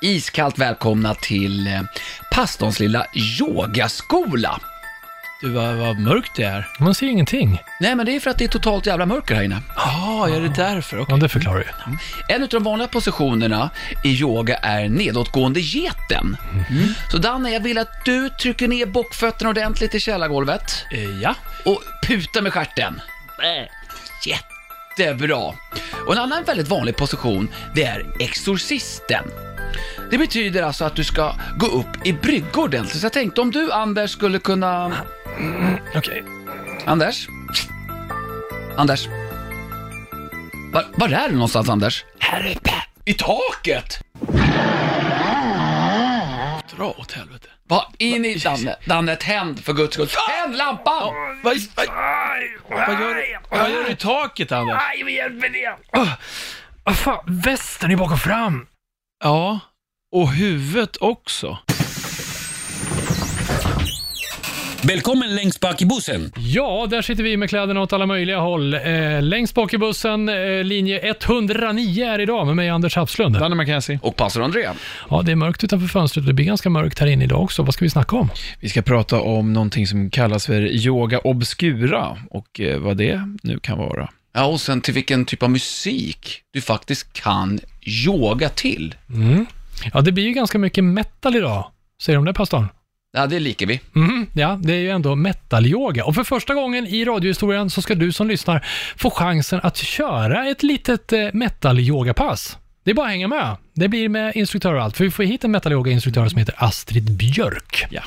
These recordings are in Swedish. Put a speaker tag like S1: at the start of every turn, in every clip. S1: iskallt välkomna till eh, pastorns lilla yogaskola.
S2: Du, vad, vad mörkt det är.
S3: Man ser ju ingenting.
S1: Nej, men det är för att det är totalt jävla mörker här inne.
S2: Ja, Ah, är det därför? Okej.
S3: Ja, det förklarar ju.
S1: En av de vanliga positionerna i yoga är nedåtgående geten.
S2: Mhm.
S1: Så Danne, jag vill att du trycker ner bockfötterna ordentligt i källargolvet
S2: Eh, Ja.
S1: och putar med stjärten. Äh, Jättebra! Och en annan väldigt vanlig position, det är exorcisten. Det betyder alltså att du ska gå upp i bryggor ordentligt. Så jag tänkte om du, Anders, skulle kunna...
S3: Okej.
S1: Anders? Anders? Var, var är du någonstans, Anders?
S2: Här uppe.
S1: I taket!
S2: Dra åt helvete.
S1: Va, in i Danne. Danne, tänd för guds skull. Tänd lampan!
S2: Vad, vad, vad, gör, du- vad gör du i taket, Anders?
S3: Aj, vad hjälper det? Åh, Vad fan, västen är bak och fram.
S2: Ja, och huvudet också.
S4: Välkommen längst bak i bussen.
S3: Ja, där sitter vi med kläderna åt alla möjliga håll. Eh, längst bak i bussen, eh, linje 109 är idag med mig Anders Hapslund.
S2: Danne McKenzie.
S1: Och pastor André.
S3: Ja, det är mörkt utanför fönstret och det blir ganska mörkt här inne idag också. Vad ska vi snacka om?
S2: Vi ska prata om någonting som kallas för yoga obscura och eh, vad det nu kan vara.
S1: Ja, och sen till vilken typ av musik du faktiskt kan yoga till.
S3: Ja, det blir ju ganska mycket metal idag. Säger de det, pastorn?
S1: Ja, det liker vi.
S3: Mm, ja, det är ju ändå metal-yoga. Och för första gången i radiohistorien så ska du som lyssnar få chansen att köra ett litet eh, metal-yoga-pass. Det är bara att hänga med. Det blir med instruktör och allt. För vi får hit en metal-yoga-instruktör som heter Astrid Björk.
S2: Ja.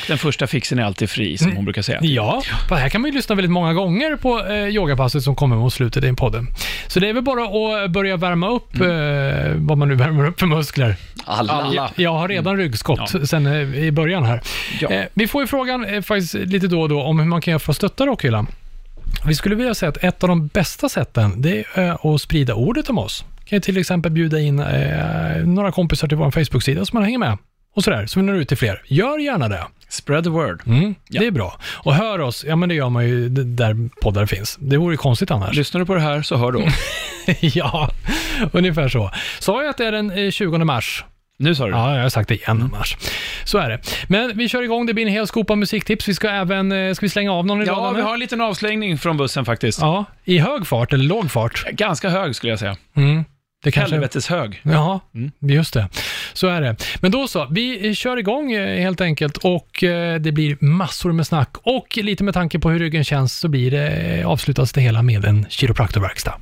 S2: Och den första fixen är alltid fri, som hon brukar säga.
S3: Ja, på här kan man ju lyssna väldigt många gånger på eh, yogapasset som kommer mot slutet i en podden. Så det är väl bara att börja värma upp eh, vad man nu värmer upp för muskler.
S1: Alla.
S2: Alla.
S3: Jag har redan ryggskott sen eh, i början här.
S2: Ja.
S3: Eh, vi får ju frågan eh, faktiskt lite då och då om hur man kan göra för att stötta Rockhyllan. Vi skulle vilja säga att ett av de bästa sätten det är eh, att sprida ordet om oss. Kan ju till exempel bjuda in eh, några kompisar till vår Facebook-sida som man hänger med och sådär, så vi når ut till fler. Gör gärna det.
S2: Spread the word.
S3: Mm, Det är bra. Och hör oss, ja men det gör man ju d- där poddar finns. Det vore ju konstigt annars.
S2: Lyssnar du på det här så hör du oss.
S3: ja, ungefär så. Sa jag att det är den eh, 20 mars?
S2: Nu sa du det.
S3: Ja, jag har sagt det igen
S2: Mm.
S3: annars. Så är det. Men vi kör igång, det blir en hel skopa musiktips. Vi ska även, eh, ska vi slänga av någon idag?
S2: Ja, vi
S3: Danne?
S2: har en liten avslängning från bussen faktiskt.
S3: ja, i hög fart eller låg fart?
S2: Ganska hög skulle jag säga.
S3: Mm. Det kanske...
S2: Helvetes hög.
S3: Ja,
S2: Mm.
S3: just det. Så är det. Men då så, vi eh, kör igång eh, helt enkelt och eh, det blir massor med snack och lite med tanke på hur ryggen känns så blir det, eh, avslutas det hela med en kiropraktorverkstad.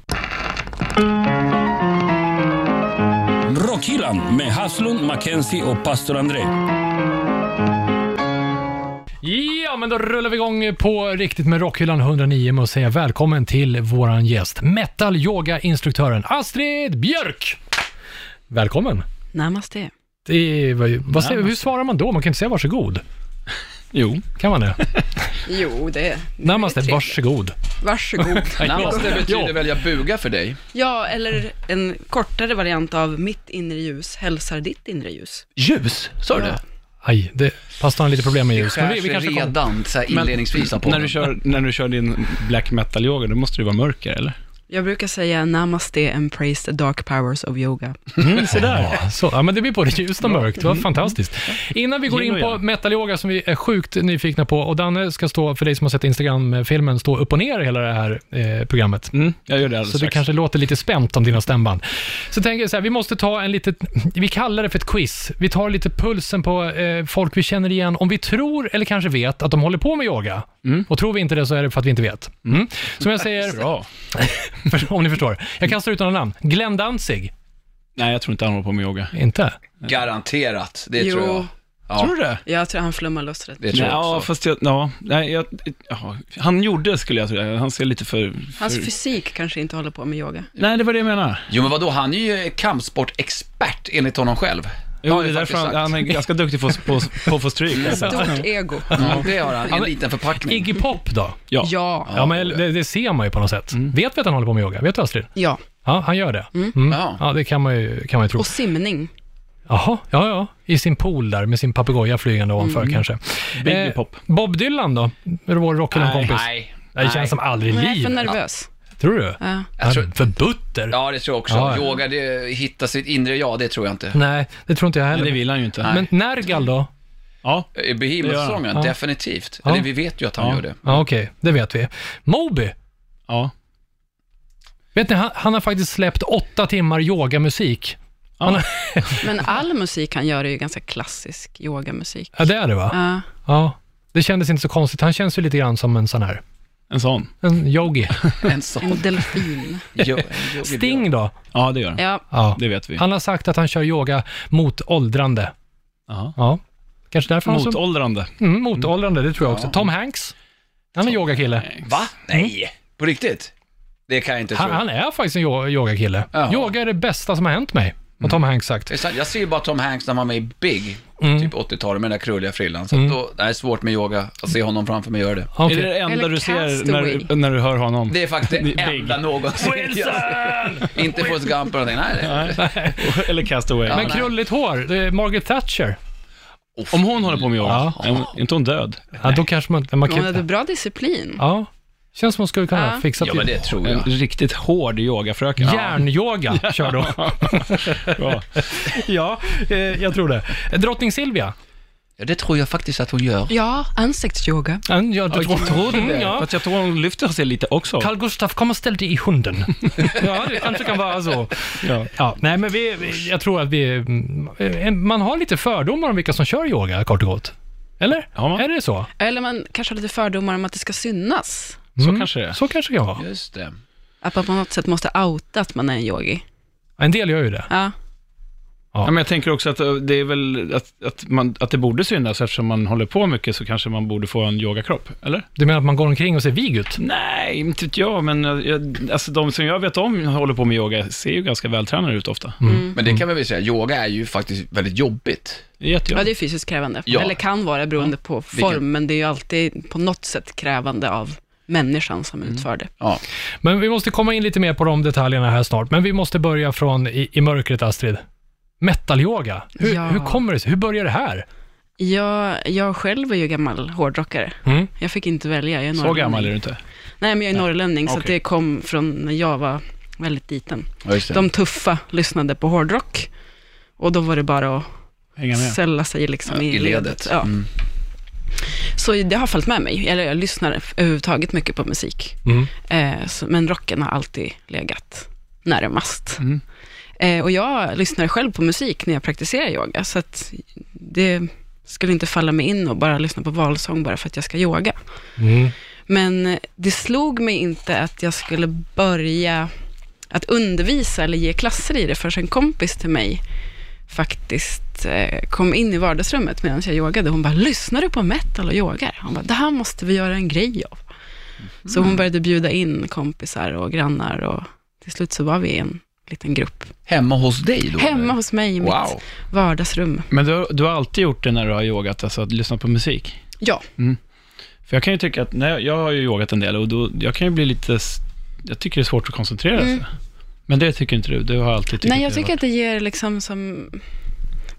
S4: Rockhyllan med Haslund, Mackenzie och pastor André.
S3: Ja, men då rullar vi igång på riktigt med Rockhyllan 109 med att säga välkommen till våran gäst, metal yoga instruktören Astrid Björk. Välkommen.
S5: Namaste.
S3: Det var ju, vad säger, hur svarar man då? Man kan inte säga varsågod.
S2: Jo.
S3: Kan man det?
S5: Jo, det...
S3: Namaste,
S5: det är trevligt.
S3: varsågod.
S5: Varsågod.
S1: Namaste betyder
S3: Ja.
S1: väl jag bugar för dig?
S5: Ja, eller en kortare variant av mitt inre ljus hälsar ditt inre ljus.
S1: Ljus, sa du det?
S3: Aj, det, pastorn har lite problem med ljus. Men vi, vi kanske kommer-
S1: redan så här inledningsvis av
S2: när
S1: podden.
S2: du, kör, när du kör din black metal-yoga, då måste du vara mörker, eller?
S5: Jag brukar säga namaste and praise the dark powers of yoga.
S3: Mm, så där. Ja, Mm. så, ja, men det blir både ljust och mörkt. Det var fantastiskt. Innan vi går
S2: Yin
S3: in
S2: och
S3: på
S2: yang.
S3: metal-yoga som vi är sjukt nyfikna på och Danne ska stå, för dig som har sett Instagram-filmen, stå upp och ner i hela det här eh, programmet.
S2: Mm, jag gör det alldeles
S3: Så det
S2: strax.
S3: kanske låter lite spänt om dina stämband. Så tänker jag så här, vi måste ta en liten, vi kallar det för ett quiz. Vi tar lite pulsen på eh, folk vi känner igen, om vi tror eller kanske vet att de håller på med yoga. Och tror vi inte det så är det för att vi inte vet. Mm. Som jag säger,
S2: Bra.
S3: för, om ni förstår. Jag kastar ut några namn. Glenn Danzig,
S2: Nej, jag tror inte han håller på med yoga.
S3: inte?
S1: Garanterat, det tror jag.
S5: jo,
S1: Ja,
S2: Tror du det?
S5: jag tror han flummar loss rätt.
S1: Det tror
S2: Nej,
S1: jag
S2: ja,
S1: också.
S2: fast jag, ja, nej, jag, ja, han gjorde skulle jag säga. Han ser lite för... för
S5: Hans fysik kanske inte håller på med yoga.
S2: nej, det var det jag menade.
S1: Jo, men vadå, han är ju kampsportexpert enligt honom själv.
S2: Jo,
S1: har
S2: det är
S1: jag
S2: därför han,
S1: faktiskt
S2: han är ganska duktig på, på, på att få stryk. Alltså.
S5: Stort ego.
S1: Ja, det har han, i en liten förpackning.
S3: Iggy Pop då?
S2: Ja.
S5: Ja,
S3: Ja, men det, det ser man ju på något sätt. Vet vi att han håller på med yoga? Vet du Astrid?
S5: ja.
S3: Ja, han gör det. Mm.
S1: Ja.
S3: Ja, det kan man ju, kan man ju tro.
S5: Och simning.
S3: Jaha, ja, ja. I sin pool där med sin papegoja flygande ovanför kanske. Eh,
S2: Biggie Pop.
S3: Bob Dylan då? Är det vår rockhyllande kompis?
S1: Nej,
S3: Det känns som aldrig i
S5: Nej, för
S3: livet.
S5: nervös.
S3: Tror du?
S5: Ja.
S1: Jag tror-
S3: För butter?
S1: Ja, det tror jag också.
S3: Ja, ja.
S1: Yoga, det, hitta sitt inre jag, det tror jag inte.
S3: Nej, det tror inte jag
S2: Men
S3: heller.
S2: det vill han ju inte.
S3: Men Nergal då?
S2: Ja.
S1: I Behemoth-sången,
S3: Ja.
S1: definitivt.
S3: Ja.
S1: Eller vi vet ju att han
S2: Ja.
S1: gör det.
S3: Ja, okej. Det vet vi. Moby.
S2: Ja.
S3: Vet ni, han, han har faktiskt släppt åtta timmar yogamusik. Han, har-
S5: Men all musik han gör är ju ganska klassisk yogamusik.
S3: ja, det är det va?
S5: Ja.
S3: Ja. Det kändes inte så konstigt. Han känns ju lite grann som en sån här,
S2: En sån.
S3: en yogi.
S1: En sån.
S5: En delfin.
S1: Yo- en yogi-
S3: Sting då?
S2: Ja, det gör han.
S5: Ja,
S3: Ja.
S2: Det vet vi.
S3: Han har sagt att han kör yoga mot åldrande.
S2: Aha.
S3: Ja. Kanske därför han så...
S2: Motåldrande.
S3: Mm, mot åldrande, det tror jag också.
S1: Ja.
S3: Tom Hanks. Han är yogakille.
S1: Va? Nej! På riktigt? Det kan jag inte
S3: Mm. Han,
S1: tro.
S3: han är faktiskt en yo- yogakille.
S1: Ja. Mm.
S3: Yoga är det bästa som har hänt mig, har Tom Hanks sagt.
S1: Det är sant. Jag ser ju bara Tom Hanks när han var med i Big, typ 80-talet, med den där krulliga frillan. Så att då, det är svårt med yoga, att se honom framför mig göra det.
S3: Okej.
S2: Är det det enda
S5: Eller
S2: du ser när,
S5: Castaway.
S2: du- när du hör honom?
S1: Det är faktiskt det
S2: Big.
S1: enda någonsin. Wilson! inte Forrest Gump eller någonting. Nej, nej.
S2: Nej. Eller Castaway.
S1: Ja.
S3: Men krulligt hår, det är Margaret Thatcher.
S2: Om hon håller på med yoga,
S3: Ja.
S2: är hon- är inte hon död?
S3: Ja, då kanske man, man
S5: hon
S3: kan,
S5: hade bra disciplin.
S3: Ja. Känns som hon skulle kunna
S5: Ja.
S3: fixa
S1: Ja, men det tror jag.
S2: En riktigt hård yogafröken.
S3: Järnyoga kör då.
S2: Bra.
S3: ja, eh, jag tror det. Drottning Silvia.
S1: Ja, det tror jag faktiskt att hon gör.
S5: Ja, ansiktsyoga.
S3: Mm, Ja, du tror, Mm, ja.
S2: Fast jag tror hon lyfter sig lite också.
S3: Carl Gustaf, kom och ställ dig i hunden. ja, det kanske kan vara så.
S2: Ja.
S3: Ja, nej, men vi, vi- jag tror att vi... mm, eh, Man har lite fördomar om vilka som kör yoga, kort och gott. Eller?
S2: Har man?
S3: Är det så?
S5: Eller man kanske har lite fördomar om att det ska synas.
S2: Så
S3: Mm.
S2: kanske det är.
S3: Så kanske det kan vara.
S1: Just det.
S5: Att man på något sätt måste outa att man är en yogi.
S3: En del gör ju det.
S5: Ja.
S2: Ja, men jag tänker också att eh, det är väl att, att, man, att det borde synas eftersom man håller på mycket så kanske man borde få en yogakropp, eller?
S3: Du menar att man går omkring och ser vig ut?
S2: Nej, inte vet jag, men eh, jag, alltså, de som jag vet om håller på med yoga ser ju ganska vältränade ut ofta. Mm.
S1: Men det kan man väl säga, yoga är ju faktiskt väldigt jobbigt.
S2: Det är jättejobbigt.
S5: ja, det är fysiskt krävande.
S1: Ja.
S5: Eller kan vara beroende på form,
S1: Vilken-
S5: men det är ju alltid på något sätt krävande av människan som utför det.
S1: Ja.
S3: Men vi måste komma in lite mer på de detaljerna här snart, men vi måste börja från i, i mörkret, Astrid. Metalyoga, hur,
S5: Ja.
S3: hur kommer det sig? Hur börjar det här?
S5: Jag, jag själv är ju gammal hårdrockare.
S3: Mm.
S5: Jag fick inte välja. Jag är
S2: Så
S5: norrlänning.
S2: gammal är du inte.
S5: Nej, men jag är norrlänning, så att
S2: Okej.
S5: det kom från när jag var väldigt liten.
S1: Ja, just det.
S5: De tuffa lyssnade på hårdrock och då var det bara att
S2: Hänga med.
S5: sälla sig liksom i, ledet. Ja.
S1: Mm.
S5: Så det har följt med mig. Eller jag lyssnar överhuvudtaget mycket på musik.
S3: Mm.
S5: Eh, så, men rocken har alltid legat närmast.
S2: Mm.
S5: Eh, och jag lyssnar själv på musik när jag praktiserar yoga, så att det skulle inte falla mig in och bara lyssna på valsång bara för att jag ska yoga.
S3: Mm.
S5: Men det slog mig inte att jag skulle börja att undervisa eller ge klasser i det förrän en kompis till mig faktiskt eh, kom in i vardagsrummet medan jag yogade. Hon bara, lyssnar du på metal och yogar? Hon bara, det här måste vi göra en grej av. Så hon började bjuda in kompisar och grannar och till slut så var vi en liten grupp.
S1: Hemma hos dig då?
S5: Hemma
S1: eller?
S5: hos mig i mitt
S1: Wow.
S5: vardagsrum.
S2: Men du, du har alltid gjort det när du har yogat, alltså att lyssna på musik?
S5: Ja.
S2: För jag kan ju tycka att, nej, jag har ju yogat en del och då, jag kan ju bli lite, s- jag tycker det är svårt att koncentrera sig. Men det tycker inte du, du har alltid tyckt
S5: Mm. Nej, jag
S2: det
S5: tycker att det ger liksom som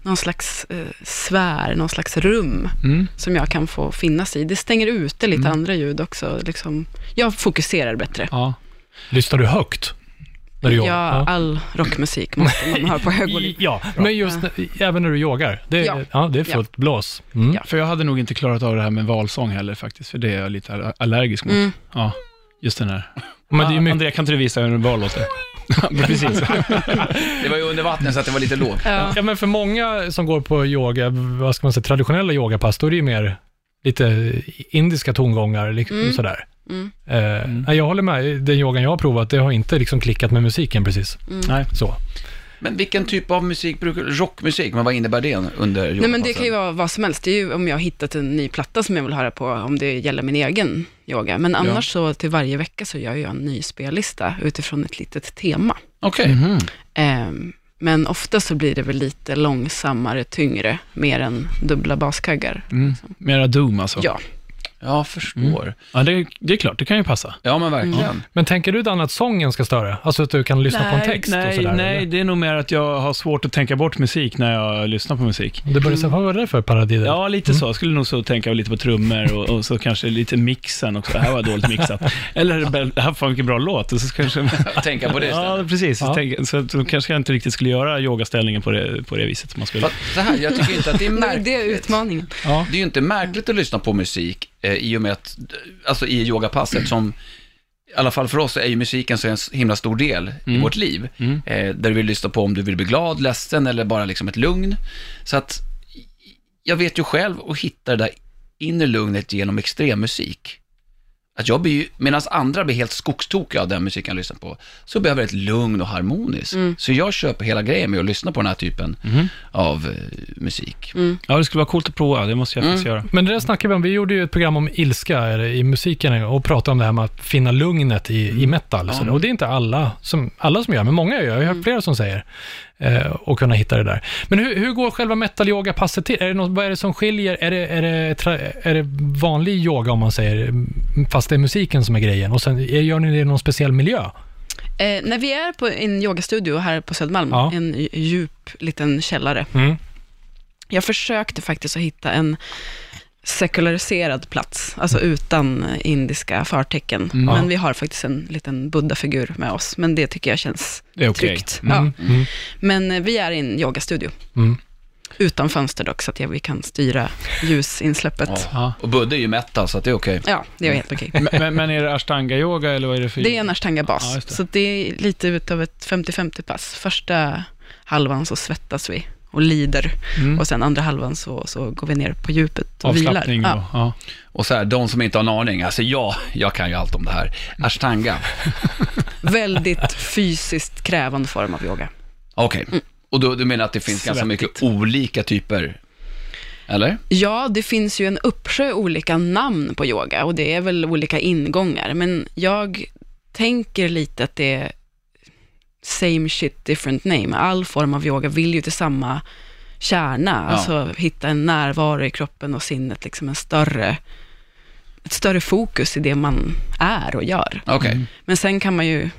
S5: någon slags eh, sfär, någon slags rum
S2: var- Mm.
S5: som jag kan få finnas i. Det stänger ute lite andra ljud också. Liksom. Jag fokuserar bättre.
S2: Ja.
S3: Lyssnar du högt? När du
S5: Ja,
S3: yogar?
S5: all rockmusik måste man ha på
S3: I-
S5: högvolym.
S3: ja. men just när- även när du yogar. Det, ja.
S5: Ja.
S3: det är
S5: Ja.
S3: fullt blås. Mm.
S5: Ja.
S2: För jag hade nog inte klarat av det här med valsång heller faktiskt, för det är jag lite aller- allergisk mot.
S5: Mm.
S2: Ja, just den här.
S3: Men det är ju
S2: Ah,
S3: mycket...
S2: Andrea, kan inte du visa hur en val låter? Ja, Precis.
S1: Det var ju under vattnet så att det var lite lågt.
S5: Ja.
S3: Ja, men för många som går på yoga, vad ska man säga, traditionella yogapass, då är det ju mer lite indiska tongångar, liksom
S5: Mm.
S3: sådär.
S5: Mm.
S3: Eh, nej, Jag håller med, den yogan jag har provat, det har inte liksom klickat med musiken precis.
S2: Nej.
S3: Så.
S1: Men vilken typ av musik brukar Rockmusik, men vad innebär det under
S5: Nej, men det kan ju vara vad som helst. Det är ju om jag har hittat en ny platta som jag vill höra på, om det gäller min egen yoga. Men annars så till varje vecka så gör jag en ny spellista utifrån ett litet tema.
S1: Okej.
S5: Ehm, men ofta så blir det väl lite långsammare, tyngre, mer än dubbla baskaggar.
S2: Mera doom alltså.
S5: Ja.
S1: Ja, förstår.
S2: Ja, det, det är klart, det kan ju passa.
S1: Ja, men verkligen.
S3: Men tänker du Dan att sången ska störa? Alltså att du kan lyssna på en text
S2: nej,
S3: och sådär?
S2: nej,
S3: eller?
S2: det är nog mer att jag har svårt att tänka bort musik när jag lyssnar på musik.
S3: Du börjar säga, vad var det där för paradider?
S2: Ja, lite så. Jag skulle nog så tänka lite på trummor och, och så kanske lite mixen också. Det här var dåligt mixat. Eller, det här var vilken bra låt. Och så kanske,
S1: Mm. Tänka på det istället.
S2: ja, precis.
S3: Ja.
S2: Så, tänk, så, så kanske jag inte riktigt skulle göra yogaställningen på det, på det viset som man skulle.
S1: Fast så här, jag tycker inte att det är
S5: Nej,
S1: märkligt.
S5: det är utmaningen.
S1: Det är ju inte märkligt att lyssna på musik eh, i och med att, alltså i yogapasset som, i alla fall för oss är ju musiken så en s- himla stor del i vårt liv. Eh, där du vill lyssna på om du vill bli glad, ledsen eller bara liksom ett lugn. Så att jag vet ju själv att hitta det där inre lugnet genom extremmusik. Att jag blir ju, medan andra blir helt skogstokiga av den musiken jag lyssnar på, så behöver jag ett lugn och harmoniskt. Så jag köper hela grejen med att lyssna på den här typen av eh, musik.
S2: Ja, det skulle vara coolt att prova. Det måste jag faktiskt göra.
S3: Men det där snackade vi om. Vi gjorde ju ett program om ilska eller, i musiken en gång, och pratade om det här med att finna lugnet i,
S5: Mm.
S3: i metal. Så, och det är inte alla som, alla som gör, men många gör. Jag har
S5: Mm.
S3: hört flera som säger eh, och kunna hitta det där. Men hur, hur går själva metal passet till? Är det något, vad är det som skiljer? Är det, är, det, tra, är det vanlig yoga om man säger, fast det är musiken som är grejen? Och sen är- gör ni det i någon speciell miljö?
S5: Eh, när vi är på en yogastudio här på Södermalm,
S3: Ja.
S5: en j- djup liten källare.
S3: Mm.
S5: Jag försökte faktiskt att hitta en sekulariserad plats, alltså utan indiska förtecken.
S2: Mm.
S5: Men vi har faktiskt en liten buddha-figur med oss, men det tycker jag känns
S2: Det är okej. Mm.
S5: tryggt. Ja. Men eh, vi är i en yogastudio.
S3: Mm.
S5: Utan fönster dock, så att ja, vi kan styra ljusinsläppet. Ja,
S1: Ja. Och Budde är ju metal, så att det är okej.
S5: det är helt okej.
S2: Men- Men, men är det ashtanga-yoga eller vad är det för...
S5: Det är en ashtanga-bas,
S2: Mm. Ja, just det.
S5: så det är lite utav ett 50-50-pass. Första halvan så svettas vi och lider
S2: Mm.
S5: och sen andra halvan så, så går vi ner på djupet och vilar.
S2: Avslappning och...
S5: Ja.
S2: Ja.
S1: Och så här, de som inte har en aning, alltså jag, jag kan ju allt om det här.
S5: Mm.
S1: Ashtanga,
S5: Väldigt fysiskt krävande form av yoga.
S1: okej.
S5: Mm.
S1: Och då, du menar att det finns ganska mycket olika typer, eller?
S5: Ja, det finns ju en uppsjö olika namn på yoga och det är väl olika ingångar, men jag tänker lite att det är same shit, different name. All form av yoga vill ju till samma kärna,
S1: Ja.
S5: alltså hitta en närvaro i kroppen och sinnet, liksom en större, ett större fokus i det man är och gör.
S1: Okej,
S5: Men sen kan man ju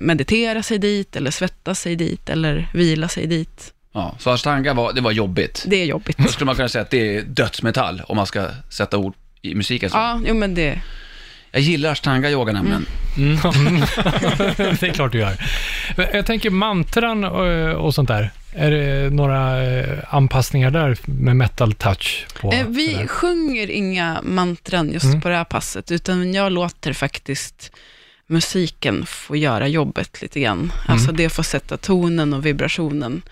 S5: meditera sig dit, eller svettas sig dit, eller vila sig dit.
S1: ja, så ashtanga var, det var jobbigt.
S5: Det är jobbigt.
S1: Då skulle man kunna säga att det är dödsmetall, om man ska sätta ord i musiken så.
S5: Ja, Mm. jo, men det,
S1: Jag gillar ashtanga-yoga nämligen.
S3: Mm. det är klart du gör. Men Jag tänker mantran eh, och, och sånt där. Är det några eh, anpassningar där med metal touch? På,
S5: Eh, vi
S3: sådär?
S5: sjunger inga mantran just på det här passet, utan jag låter faktiskt musiken få göra jobbet lite grann. Alltså det får sätta tonen och vibrationen.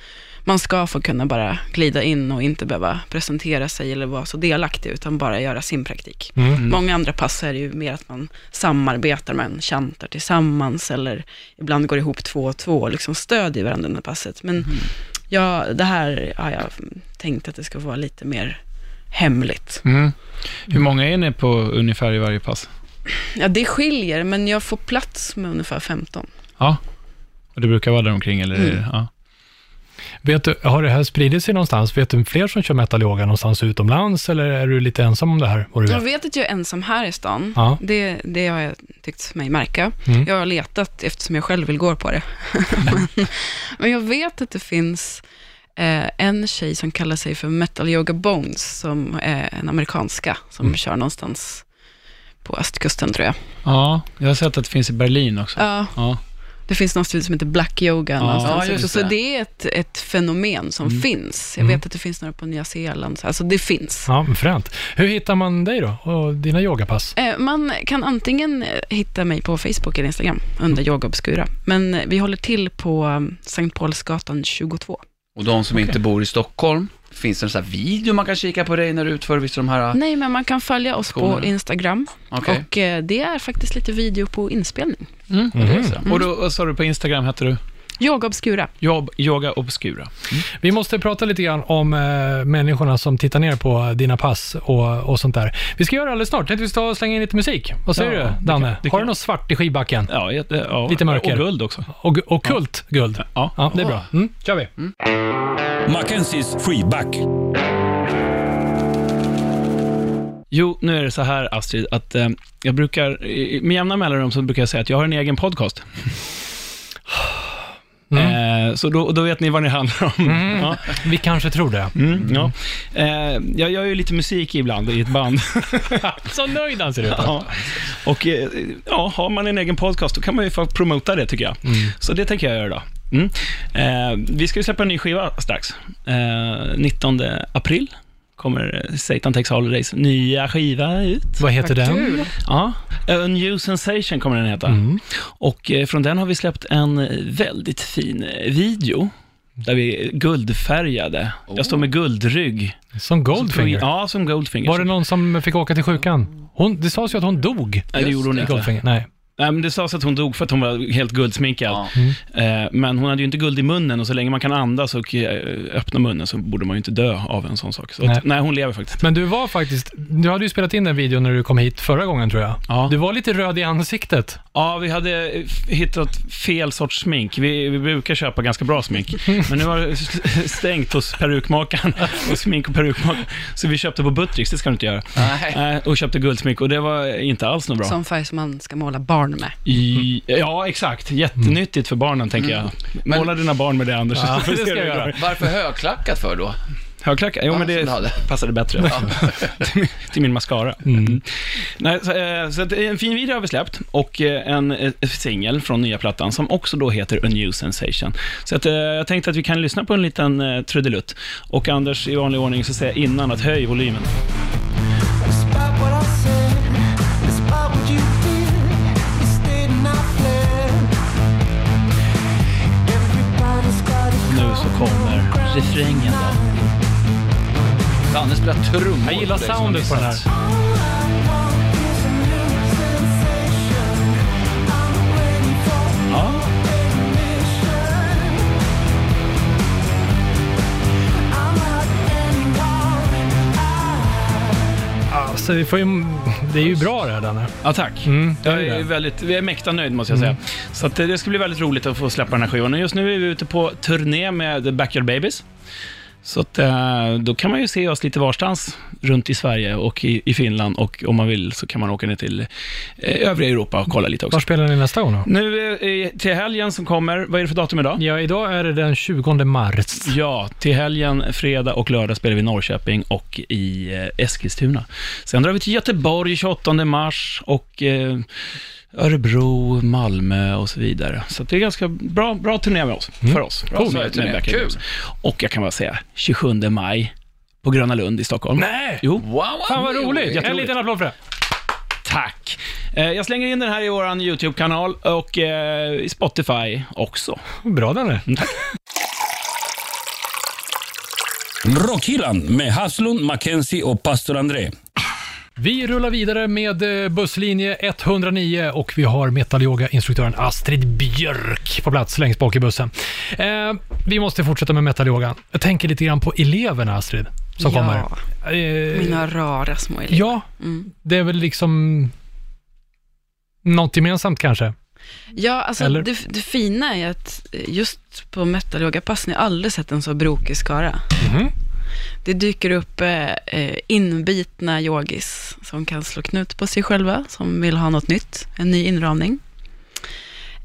S5: Man ska få kunna bara glida in och inte behöva presentera sig eller vara så delaktig, utan bara göra sin praktik.
S3: Mm.
S5: Många andra pass är det ju mer att man samarbetar, man chantar tillsammans eller ibland går ihop två och två och liksom stödjer varandra under passet. Men ja, det här har jag tänkt att det ska vara lite mer hemligt.
S2: Mm. Hur många är ni på ungefär i varje pass?
S5: Ja, det skiljer, men jag får plats med ungefär 15.
S2: Ja. Och det brukar vara där omkring eller? Ja.
S3: Vet du, har det här spridit sig någonstans? Vet du fler som kör metal yoga någonstans utomlands eller är du lite ensam om det här? Vad du
S5: Jag
S3: vet?
S5: vet att jag är ensam här i stan.
S3: Ja.
S5: Det, det har jag tyckt mig märka.
S3: Mm.
S5: Jag har letat eftersom jag själv vill gå på det. men, men jag vet att det finns eh, en tjej som kallar sig för Metal Yoga Bones, som är en amerikanska som kör någonstans på östkusten tror jag.
S2: ja, jag har sett att det finns i Berlin också.
S5: Ja,
S2: Ja.
S5: Det finns någon studie som heter Black Yoga någonstans
S1: Ja, just
S5: också. Så
S1: det.
S5: det är ett, ett fenomen som finns. Jag vet att det finns några på Nya Zeeland. så- Alltså det finns.
S3: Ja, men fränt. Hur hittar man dig då och dina yogapass?
S5: Eh, Man kan antingen eh, hitta mig på Facebook eller Instagram under Yoga Obscura. Men eh, vi håller till på eh, Sankt Paulsgatan 22.
S1: Och de som inte bor i Stockholm, finns det en sån här video man kan kika på dig när du utför vissa av de här...
S5: Nej, men man kan följa oss på
S1: Kolla.
S5: Instagram.
S1: Okej.
S5: Och eh, det är faktiskt lite video på inspelning.
S2: Mm. Och då, vad sa du på Instagram hette du?
S5: Yoga Obscura.
S2: Job, yoga Obscura.
S3: Vi måste prata lite grann om eh, människorna som tittar ner på dina pass och, och sånt där. Vi ska göra det alldeles snart. Jag tänkte vi ska slänga in lite musik. Vad säger
S2: Ja,
S3: du,
S2: det kan-
S3: Danne?
S2: det
S3: Har du
S2: kan-
S3: något svart i skivbacken?
S2: Ja, jätte- ja.
S3: Lite mörker.
S2: Och guld också.
S3: Och, och kult guld?
S2: Ja.
S3: Ja, det är bra. Mm, kör vi.
S4: Mackenzies freeback.
S2: Jo, nu är det så här Astrid, att eh, jag brukar, i- med jämna mellanrum så brukar jag säga att jag har en egen podcast. Eh, så då, då vet ni vad ni handlar om. Ja.
S3: Vi kanske tror det.
S2: Mm, ja. Eh, jag gör ju lite musik ibland i ett band.
S3: Så nöjd han ser ut.
S2: ja. Och eh, ja, har man en egen podcast, då kan man ju få promota det tycker jag. Så det tänker jag göra idag. Mm. Eh, vi ska ju släppa en ny skiva strax. Eh, 19 april kommer eh, Satan Takes Holidays nya skiva ut.
S3: Vad heter
S5: Vad
S3: den?
S5: kul.
S2: Ja, A New Sensation kommer den heta. Och eh, från den har vi släppt en eh, väldigt fin eh, video. Där vi är guldfärgade. Jag står med guldrygg.
S3: Som Goldfinger?
S2: Ja, som Goldfinger.
S3: Var det någon som fick åka till sjukan? Hon, det sades ju att hon dog.
S2: Nej, det gjorde hon
S3: i
S2: inte.
S3: Goldfinger. Nej.
S2: Nej, men det sades att hon dog för att hon var helt guldsminkad.
S1: Ja.
S3: Mm.
S2: Eh, Men hon hade ju inte guld i munnen och så länge man kan andas och eh, öppna munnen så borde man ju inte dö av en sån sak. Så nej.
S3: Nej.
S2: Att, nej, hon lever faktiskt.
S3: Men du var faktiskt, du hade ju spelat in den videon när du kom hit förra gången tror jag.
S2: Ja.
S3: Du var lite röd i ansiktet.
S2: Ja, vi hade eh, f- hittat fel sorts smink. Vi, vi brukar köpa ganska bra smink, men nu var det s- stängt hos perukmakaren. Och smink och perukmakaren. Så vi köpte på Buttricks, det ska du inte göra.
S1: Nej.
S2: Eh, Och köpte guldsmink och det var inte alls något bra.
S5: Sån färg som man ska måla barn med.
S2: I, ja, exakt. Jättenyttigt för barnen, tänker jag.
S1: Men-
S2: Måla dina barn med det, Anders.
S3: Mm. Ja, det ska jag göra.
S1: Varför högklackat för då?
S2: Högklackat? Jo,
S1: Ja,
S2: men
S1: som
S2: det
S1: du hade.
S2: passade bättre. till, min- till min mascara. Mm. Nej, så, eh, så att en fin video har vi släppt och eh, en eh, singel från nya plattan som också då heter A New Sensation. Så att, eh, jag tänkte att vi kan lyssna på en liten eh, trudelutt. Och Anders, i vanlig ordning så säger jag innan att höj volymen.
S6: Despite what I said, despite what you did, you stayed and I fled. Everybody's got a
S2: Nu så kommer refrängen då.
S1: Danne spelar trummor.
S2: Jag gillar
S1: Det är som
S2: soundet på den här.
S1: missat.
S2: Ja.
S3: Alltså, vi får ju, det är ju bra det här Danne.
S2: Ja, tack.
S3: Mm, det är
S2: jag
S3: det.
S2: är väldigt, jag är mäkta nöjd måste jag säga. Så att eh, det ska bli väldigt roligt att få släppa den här skivan. Och Just nu är vi ute på turné med The Backyard Babies. Så att, eh, då kan man ju se oss lite varstans runt i Sverige och i, i Finland och om man vill så kan man åka ner till eh, övriga Europa och kolla lite också.
S3: Var spelar ni nästa gång då?
S2: Nu eh, till helgen som kommer, vad är det för datum idag?
S3: Ja, idag är det den 20 mars.
S2: Ja, till helgen, fredag och lördag spelar vi i Norrköping och i eh, Eskilstuna. Sen drar vi till Göteborg 28 mars och eh, Örebro, Malmö och så vidare. Så det är ganska bra, bra turné med oss, för oss. Bra
S1: Cool.
S2: turné
S1: turné,
S2: med
S1: kul.
S2: Backstreet Boys. Och jag kan bara säga, 27 maj på Gröna Lund i Stockholm.
S3: Nej!
S2: Jo,
S1: Wow, wow,
S3: Äh! Fan vad roligt! En
S2: Jätteroligt.
S3: liten applåd för det.
S2: tack. Eh, Jag slänger in den här i vår YouTube-kanal och eh, i Spotify också.
S3: Bra Danne.
S4: Rockhyllan med Haslund, Mackenzie och pastor André.
S3: Vi rullar vidare med eh, busslinje 109 och vi har metalyoga-instruktören Astrid Björk på plats längst bak i bussen. Eh, vi måste fortsätta med metalyogan. Jag tänker lite grann på eleverna Astrid, som
S5: Ja.
S3: kommer. Eh,
S5: Mina rara små elever.
S3: Ja,
S5: Mm.
S3: det är väl liksom något gemensamt kanske.
S5: Ja, alltså
S3: Eller?
S5: det, det fina är att eh, just på metalyogapass, ni har aldrig sett en så brokig skara.
S3: Mhm.
S5: Det dyker upp eh, eh, inbitna yogis som kan slå knut på sig själva, som vill ha något nytt, en ny inramning.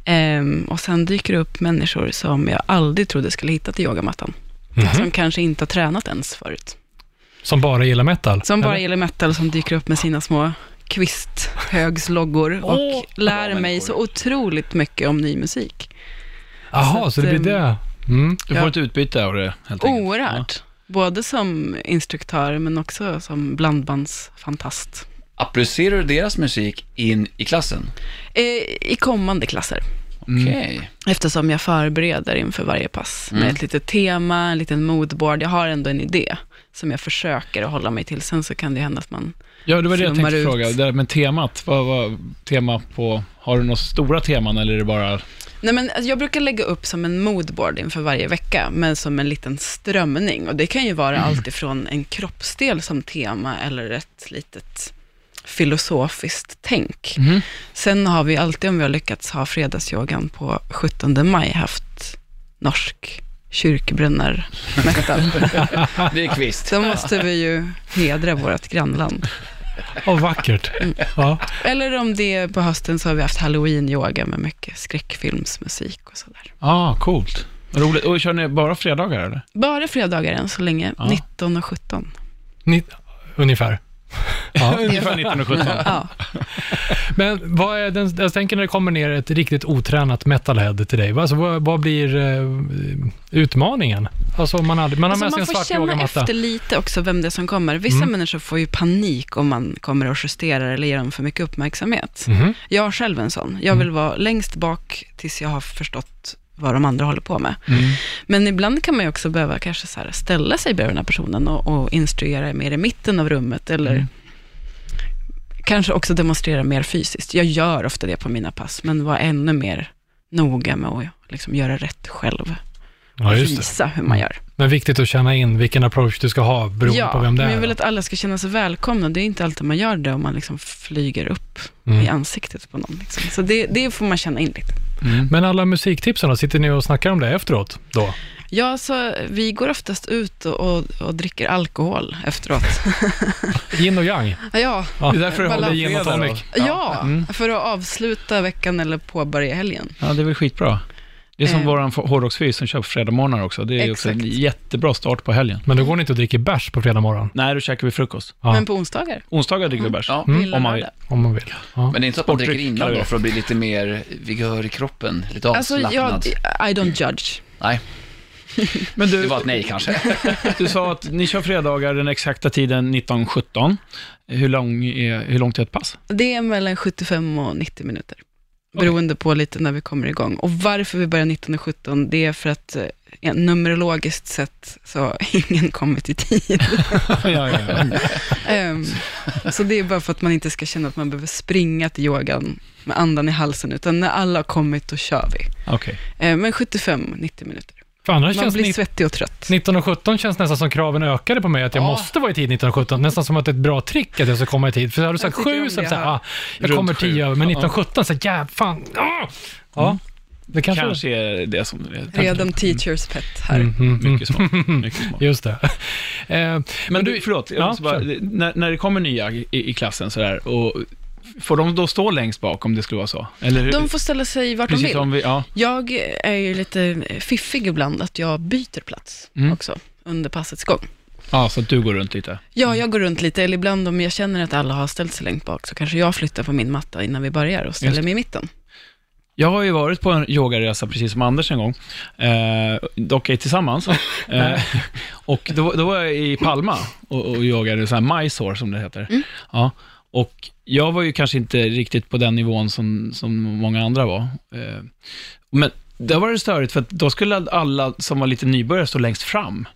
S5: Ehm, och sen dyker det upp människor som jag aldrig trodde skulle hitta till yogamattan,
S3: Mhm.
S5: som kanske inte har tränat ens förut.
S3: Som bara gillar metal.
S5: Som bara
S3: Eller?
S5: gillar metal, som dyker upp med sina små kvisthögsloggor och
S3: Åh,
S5: lär
S1: bra
S5: mig
S1: människor.
S5: så otroligt mycket om ny musik.
S3: Jaha,
S5: Så
S3: så,
S5: att,
S3: det blir det. Mm.
S2: Du får ett utbyte av det, helt enkelt.
S5: Oerhört. Både som instruktör, men också som blandbandsfantast.
S1: Applicerar du deras musik in i klassen?
S5: Eh, I kommande klasser,
S2: Mm.
S1: Okej.
S5: eftersom jag förbereder inför varje pass med ett litet tema, en liten moodboard. Jag har ändå en idé som jag försöker att hålla mig till. Sen så kan det hända att man...
S2: Ja, det var det jag
S5: Flummar
S2: tänkte
S5: ut.
S2: fråga. Det där med temat, vad var tema på... Har du några stora teman eller är det bara...
S5: Nej, men alltså, jag brukar lägga upp som en moodboard inför varje vecka, men som en liten strömning. Och det kan ju vara allt ifrån en kroppsdel som tema eller ett litet filosofiskt tänk. Sen har vi alltid, om vi har lyckats ha fredagsyogan på 17 maj, haft norsk kyrkbrunnar
S1: Det är kvist.
S5: Så måste vi ju hedra vårt grannland.
S3: Vad vackert.
S5: Mm.
S3: Ja.
S5: Eller om det är på hösten så har vi haft halloween-yoga med mycket skräckfilmsmusik och sådär.
S2: Ah, coolt. Roligt. Och kör ni bara fredagar eller?
S5: Bara fredagar än så länge, 19 och 17.
S3: Ni, ungefär.
S2: Ja. Ungefär 1917.
S5: Ja.
S3: Men vad är den, jag tänker när det kommer ner ett riktigt otränat metalhead till dig, alltså, vad, vad blir eh, utmaningen? Alltså om man, aldrig, man har
S5: Alltså
S3: med sig en
S5: man får
S3: svart Mm.
S5: känna
S3: yogamatta.
S5: efter lite också vem det är som kommer. Vissa människor får ju panik om man kommer och justerar eller ger dem för mycket uppmärksamhet.
S3: Mhm.
S5: Jag är själv en sån. Jag
S3: Mm.
S5: vill vara längst bak tills jag har förstått vad de andra håller på med.
S3: Mm.
S5: Men ibland kan man ju också behöva kanske så här ställa sig bredvid den här personen och, och instruera mer i mitten av rummet eller
S3: Mm.
S5: kanske också demonstrera mer fysiskt. Jag gör ofta det på mina pass, men var ännu mer noga med att liksom göra rätt själv.
S3: Ja, just det. Mm.
S5: Visa hur man gör.
S3: Men viktigt att känna in vilken approach du ska ha beroende
S5: ja,
S3: på vem det
S5: men
S3: är.
S5: jag vill att alla ska känna sig välkomna. Det är inte alltid man gör det om man liksom flyger upp
S3: Mm.
S5: i ansiktet på någon. Liksom. Så det, det får man känna in lite.
S3: Men alla musiktipsen då, sitter ni och snackar om det efteråt då?
S5: Ja, så vi går oftast ut och, och, och dricker alkohol efteråt.
S3: Yin och yang?
S5: ja,
S3: Ja.
S2: Det är därför du håller
S5: Balans-
S2: gin och tonic.
S5: ja,
S3: Mm.
S5: för att avsluta veckan eller påbörja helgen.
S2: Ja, det är väl skitbra. Det är som
S5: Eh.
S2: våran hårdrocksfys som kör på fredagsmorgnar också. Det är ju också en
S5: Exakt.
S2: jättebra start på helgen.
S3: Men då går ni inte och dricker bärs på fredag morgon?
S2: Nej, då käkar vi frukost.
S3: Ja. Mm.
S5: Men på onsdagar,
S2: Onsdagar dricker vi bärs.
S1: Ja.
S5: mm.
S2: Om man vill.
S3: Om man vill. Ja.
S1: Men det är inte så att man dricker
S2: Sportdryck
S1: innan
S2: kallar vi
S1: då
S2: det.
S1: för att bli lite mer vigör i kroppen, lite
S5: Alltså,
S1: avslappnad?
S5: jag, I don't judge.
S1: Nej,
S2: Men
S1: det
S2: du,
S1: var ett nej kanske.
S2: du sa att ni kör fredagar den exakta tiden 19.17. Hur, lång är, hur långt är ett pass?
S5: Det är mellan 75 och 90 minuter. Beroende på lite när vi kommer igång. Och varför vi börjar 19 och 17, det är för att eh, ja, numerologiskt sett så har ingen kommit i tid.
S2: ja, ja, ja.
S5: Ehm, så det är bara för att man inte ska känna att man behöver springa till yogan med andan i halsen, utan när alla har kommit, då kör vi.
S2: Okej.
S5: Ehm, men 75-90 minuter.
S3: För annars
S5: Man
S3: känns
S5: blir
S3: ni-
S5: svettig och trött.
S3: 1917 känns nästan som kraven ökade på mig, att jag
S1: Ja.
S3: måste vara i tid 1917. Nästan som att det är ett bra trick att jag ska komma i tid. För hade du sagt
S5: Jag tycker
S3: sju
S5: om
S3: så
S5: det
S3: hade jag
S5: här.
S3: ah, jag
S2: Runt
S3: kommer
S2: sju.
S3: tio över. Men
S2: Ja. Mm.
S3: 1917, så ja, fan. Ah! Ja, det kanske...
S2: Kanske är det som är tanken.
S5: Redan teachers pet här.
S3: Mm, mm, mm.
S2: Mycket Mm. smart. Mycket smart.
S3: Just det. Eh, men,
S2: Men
S3: du,
S2: du, förlåt, jag
S3: Ja,
S2: måste bara, när, när det kommer nya i, i klassen sådär, och får de då stå längst bak om det skulle vara så? Eller hur?
S5: De får ställa sig vart de
S2: Precis
S5: vill.
S2: som vi, ja.
S5: Jag är ju lite fiffig ibland, att jag byter plats
S3: Mm.
S5: också under passets gång.
S2: ja, så att du går runt lite.
S5: Ja, jag går runt lite, eller ibland om jag känner att alla har ställt sig längst bak, så kanske jag flyttar på min matta innan vi börjar och ställer
S2: Just.
S5: mig i mitten.
S2: Jag har ju varit på en yogaresa, precis som Anders en gång, eh, dock ej tillsammans. eh, och då, då var jag i Palma och, och yogade, så här Mysore som det heter. Ja, och jag var ju kanske inte riktigt på den nivån som, som många andra var. Eh, men där var det störigt, för att då skulle alla som var lite nybörjare stå längst fram.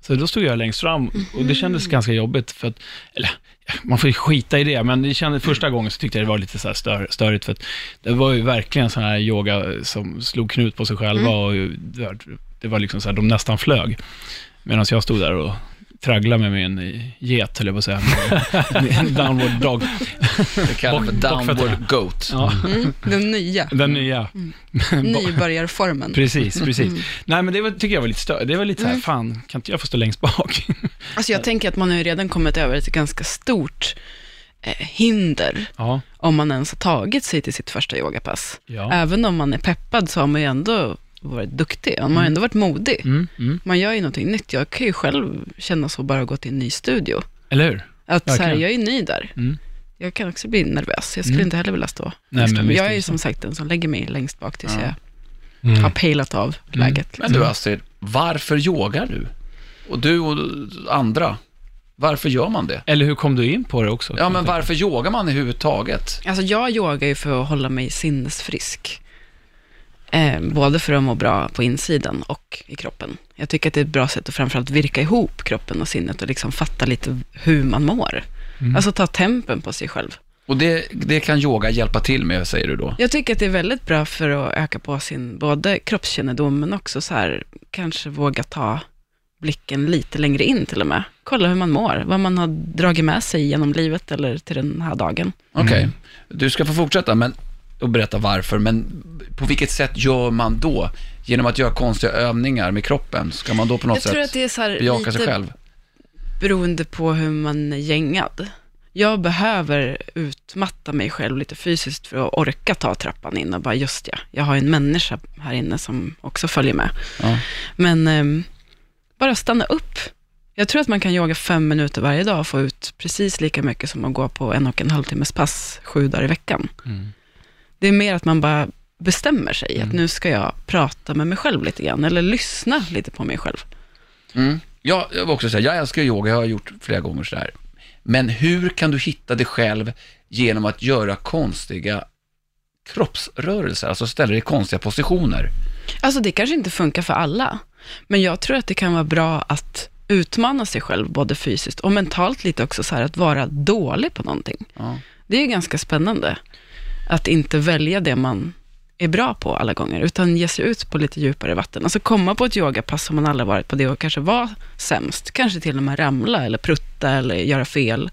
S2: Så då stod jag längst fram och det kändes ganska jobbigt för att, eller ja, man får ju skita i det, men det kändes, första gången så tyckte jag det var lite så här stör, störigt för att det var ju verkligen sån här yoga som slog knut på sig själva och ju- det var- det var liksom så här, de nästan flög. Medan jag stod där och tragglade med min get, höll jag på att säga, Min downward dog.
S1: Det kallar man för downward
S3: bockfötterna.
S1: goat.
S2: Ja,
S5: Den nya,
S2: den nya.
S5: nybörjarformen.
S2: Precis, precis. Nej men det var, tycker jag var lite störigt, det var lite så här, fan, kan inte jag få stå längst bak?
S5: Alltså jag tänker att man har ju redan kommit över ett ganska stort eh, hinder,
S2: ja,
S5: om man ens har tagit sig till sitt första yogapass.
S2: ja.
S5: Även om man är peppad så har man ju ändå varit duktig, man har ändå varit modig.
S2: Mm, mm.
S5: Man gör ju någonting nytt. Jag kan ju själv känna så bara gå till en ny studio.
S2: Eller hur?
S5: Att så här,
S2: Verkligen.
S5: jag är ny där.
S2: Mm.
S5: Jag kan också bli nervös. Jag skulle inte heller vilja stå
S2: men
S5: längst fram.
S2: visst
S5: Jag
S2: är
S5: är
S2: det
S5: ju
S2: så.
S5: som sagt den som lägger mig längst bak tills jag
S3: Mm.
S5: har pejlat av
S2: Mm.
S5: läget.
S1: Men du Astrid, varför yogar du? Och du och andra, varför gör man det?
S2: Eller hur kom du in på det också?
S1: Ja, men varför yogar man överhuvudtaget?
S5: Alltså jag yogar ju för att hålla mig sinnesfrisk. Eh, både för att må bra på insidan och i kroppen. Jag tycker att det är ett bra sätt att framförallt virka ihop kroppen och sinnet och liksom fatta lite hur man mår.
S2: Mm.
S5: Alltså ta tempen på sig själv.
S1: Och det, det kan yoga hjälpa till med, säger du då?
S5: Jag tycker att det är väldigt bra för att öka på sin både kroppskännedom men också så här, kanske våga ta blicken lite längre in till och med. Kolla hur man mår, vad man har dragit med sig genom livet eller till den här dagen.
S1: Okej, du ska få fortsätta men, och berätta varför, men på vilket sätt gör man då? Genom att göra konstiga övningar med kroppen, ska man då på något
S5: Jag tror att
S1: sätt
S5: det är så här
S1: bejaka sig
S5: lite
S1: själv?
S5: beroende på hur man är gängad. jag behöver utmatta mig själv lite fysiskt för att orka ta trappan in och bara, just ja, jag har ju en människa här inne som också följer med.
S1: Ja.
S5: Men ehm, bara stanna upp. Jag tror att man kan yoga fem minuter varje dag och få ut precis lika mycket som att gå på en och en halv timmes pass sju dagar i veckan. Det är mer att man bara bestämmer sig, att nu ska jag prata med mig själv lite grann, eller lyssna lite på mig själv.
S1: Mm. Ja, jag vill också säga, jag älskar yoga, jag har gjort flera gånger sådär. Men hur kan du hitta dig själv genom att göra konstiga kroppsrörelser, alltså ställa dig i konstiga positioner?
S5: Alltså det kanske inte funkar för alla, men jag tror att det kan vara bra att utmana sig själv, både fysiskt och mentalt lite också, så här, att vara dålig på någonting.
S1: Ja.
S5: Det är ju ganska spännande, att inte välja det man är bra på alla gånger, utan ge sig ut på lite djupare vatten. Alltså komma på ett yogapass som man aldrig varit på det och kanske vara sämst, kanske till och med ramla eller prutta eller göra fel.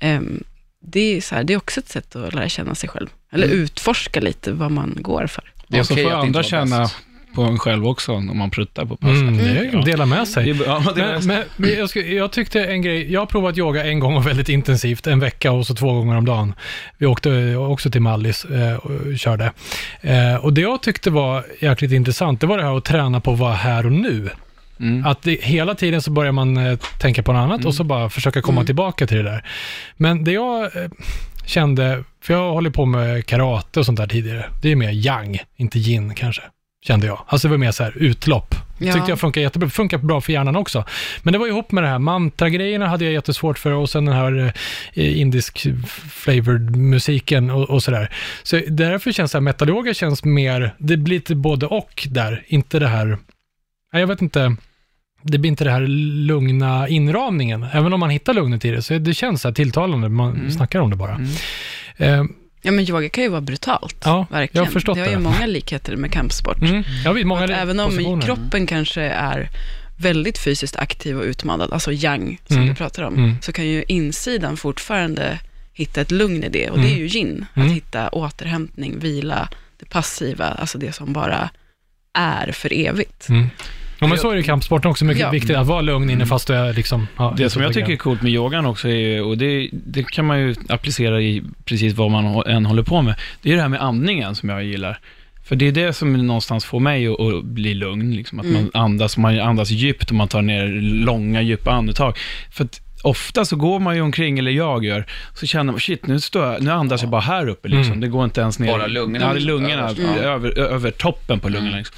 S5: Ehm, det, är så här, det är också ett sätt att lära känna sig själv, eller utforska lite vad man går för.
S1: Det är
S2: och så
S1: okej
S2: får
S1: att inte
S2: andra
S1: vara
S2: känna
S1: bäst.
S2: på en själv också, om man pruttar på passet.
S3: Mm, det är,
S2: Ja.
S3: dela med sig.
S2: Det är- ja, det är-
S3: Men, men, men jag, skulle, jag tyckte en grej, jag har provat yoga en gång och väldigt intensivt, en vecka och så två gånger om dagen. Vi åkte eh, också till Mallis eh, och körde. Eh, och det jag tyckte var jäkligt intressant, det var det här att träna på att vara här och nu.
S2: Mm.
S3: Att det, hela tiden så börjar man eh, tänka på något annat och så bara försöka
S2: Mm.
S3: komma tillbaka till det där. Men det jag eh, kände, för jag håller på med karate och sånt där tidigare, det är mer yang, inte yin kanske, kände jag. Alltså det var mer så här utlopp.
S5: Ja.
S3: Tyckte jag funkar jättebra, funkar bra för hjärnan också. Men det var ihop med det här mantra-grejerna hade jag jättesvårt för och sen den här eh, indisk flavored musiken och, och sådär. Så därför känns det här metaloga känns mer, det blir lite både och där, inte det här, nej jag vet inte, det blir inte det här lugna inramningen. Även om man hittar lugnet i det, så det känns så här tilltalande, man snackar om det bara. Eh,
S5: Ja, men yoga kan ju vara brutalt,
S3: Ja,
S5: verkligen.
S3: jag har förstått
S5: det har ju
S3: det.
S5: många likheter med kampsport.
S3: mm. Jag vet, många
S5: Att även om
S3: positioner.
S5: kroppen kanske är väldigt fysiskt aktiv och utmanad, alltså yang som
S3: Mm.
S5: du pratar om,
S3: Mm.
S5: så kan ju insidan fortfarande hitta ett lugn i det och det är ju yin, att
S3: Mm.
S5: hitta återhämtning, vila, det passiva, alltså det som bara är för evigt.
S3: Mm. Ja, men så är det i kampsporten också, mycket
S5: Ja.
S3: viktigt att vara lugn inne fast du är liksom... Ja,
S2: Det som jag tycker är
S3: är...
S2: coolt med yogan också, är, ju- och det, det kan man ju applicera i precis vad man hå- än håller på med, det är det här med andningen som jag gillar. För det är det som någonstans får mig att, att bli lugn, liksom, att man, andas, man andas djupt och man tar ner långa, djupa andetag. För att ofta så går man ju omkring, eller jag gör, så känner man, shit, nu, står jag, nu andas jag bara här uppe, liksom.
S3: Mm.
S2: det går inte ens ner.
S1: Bara lungorna.
S2: Ja, det är lungorna,
S1: Mm.
S2: över, över toppen på lungorna. Liksom.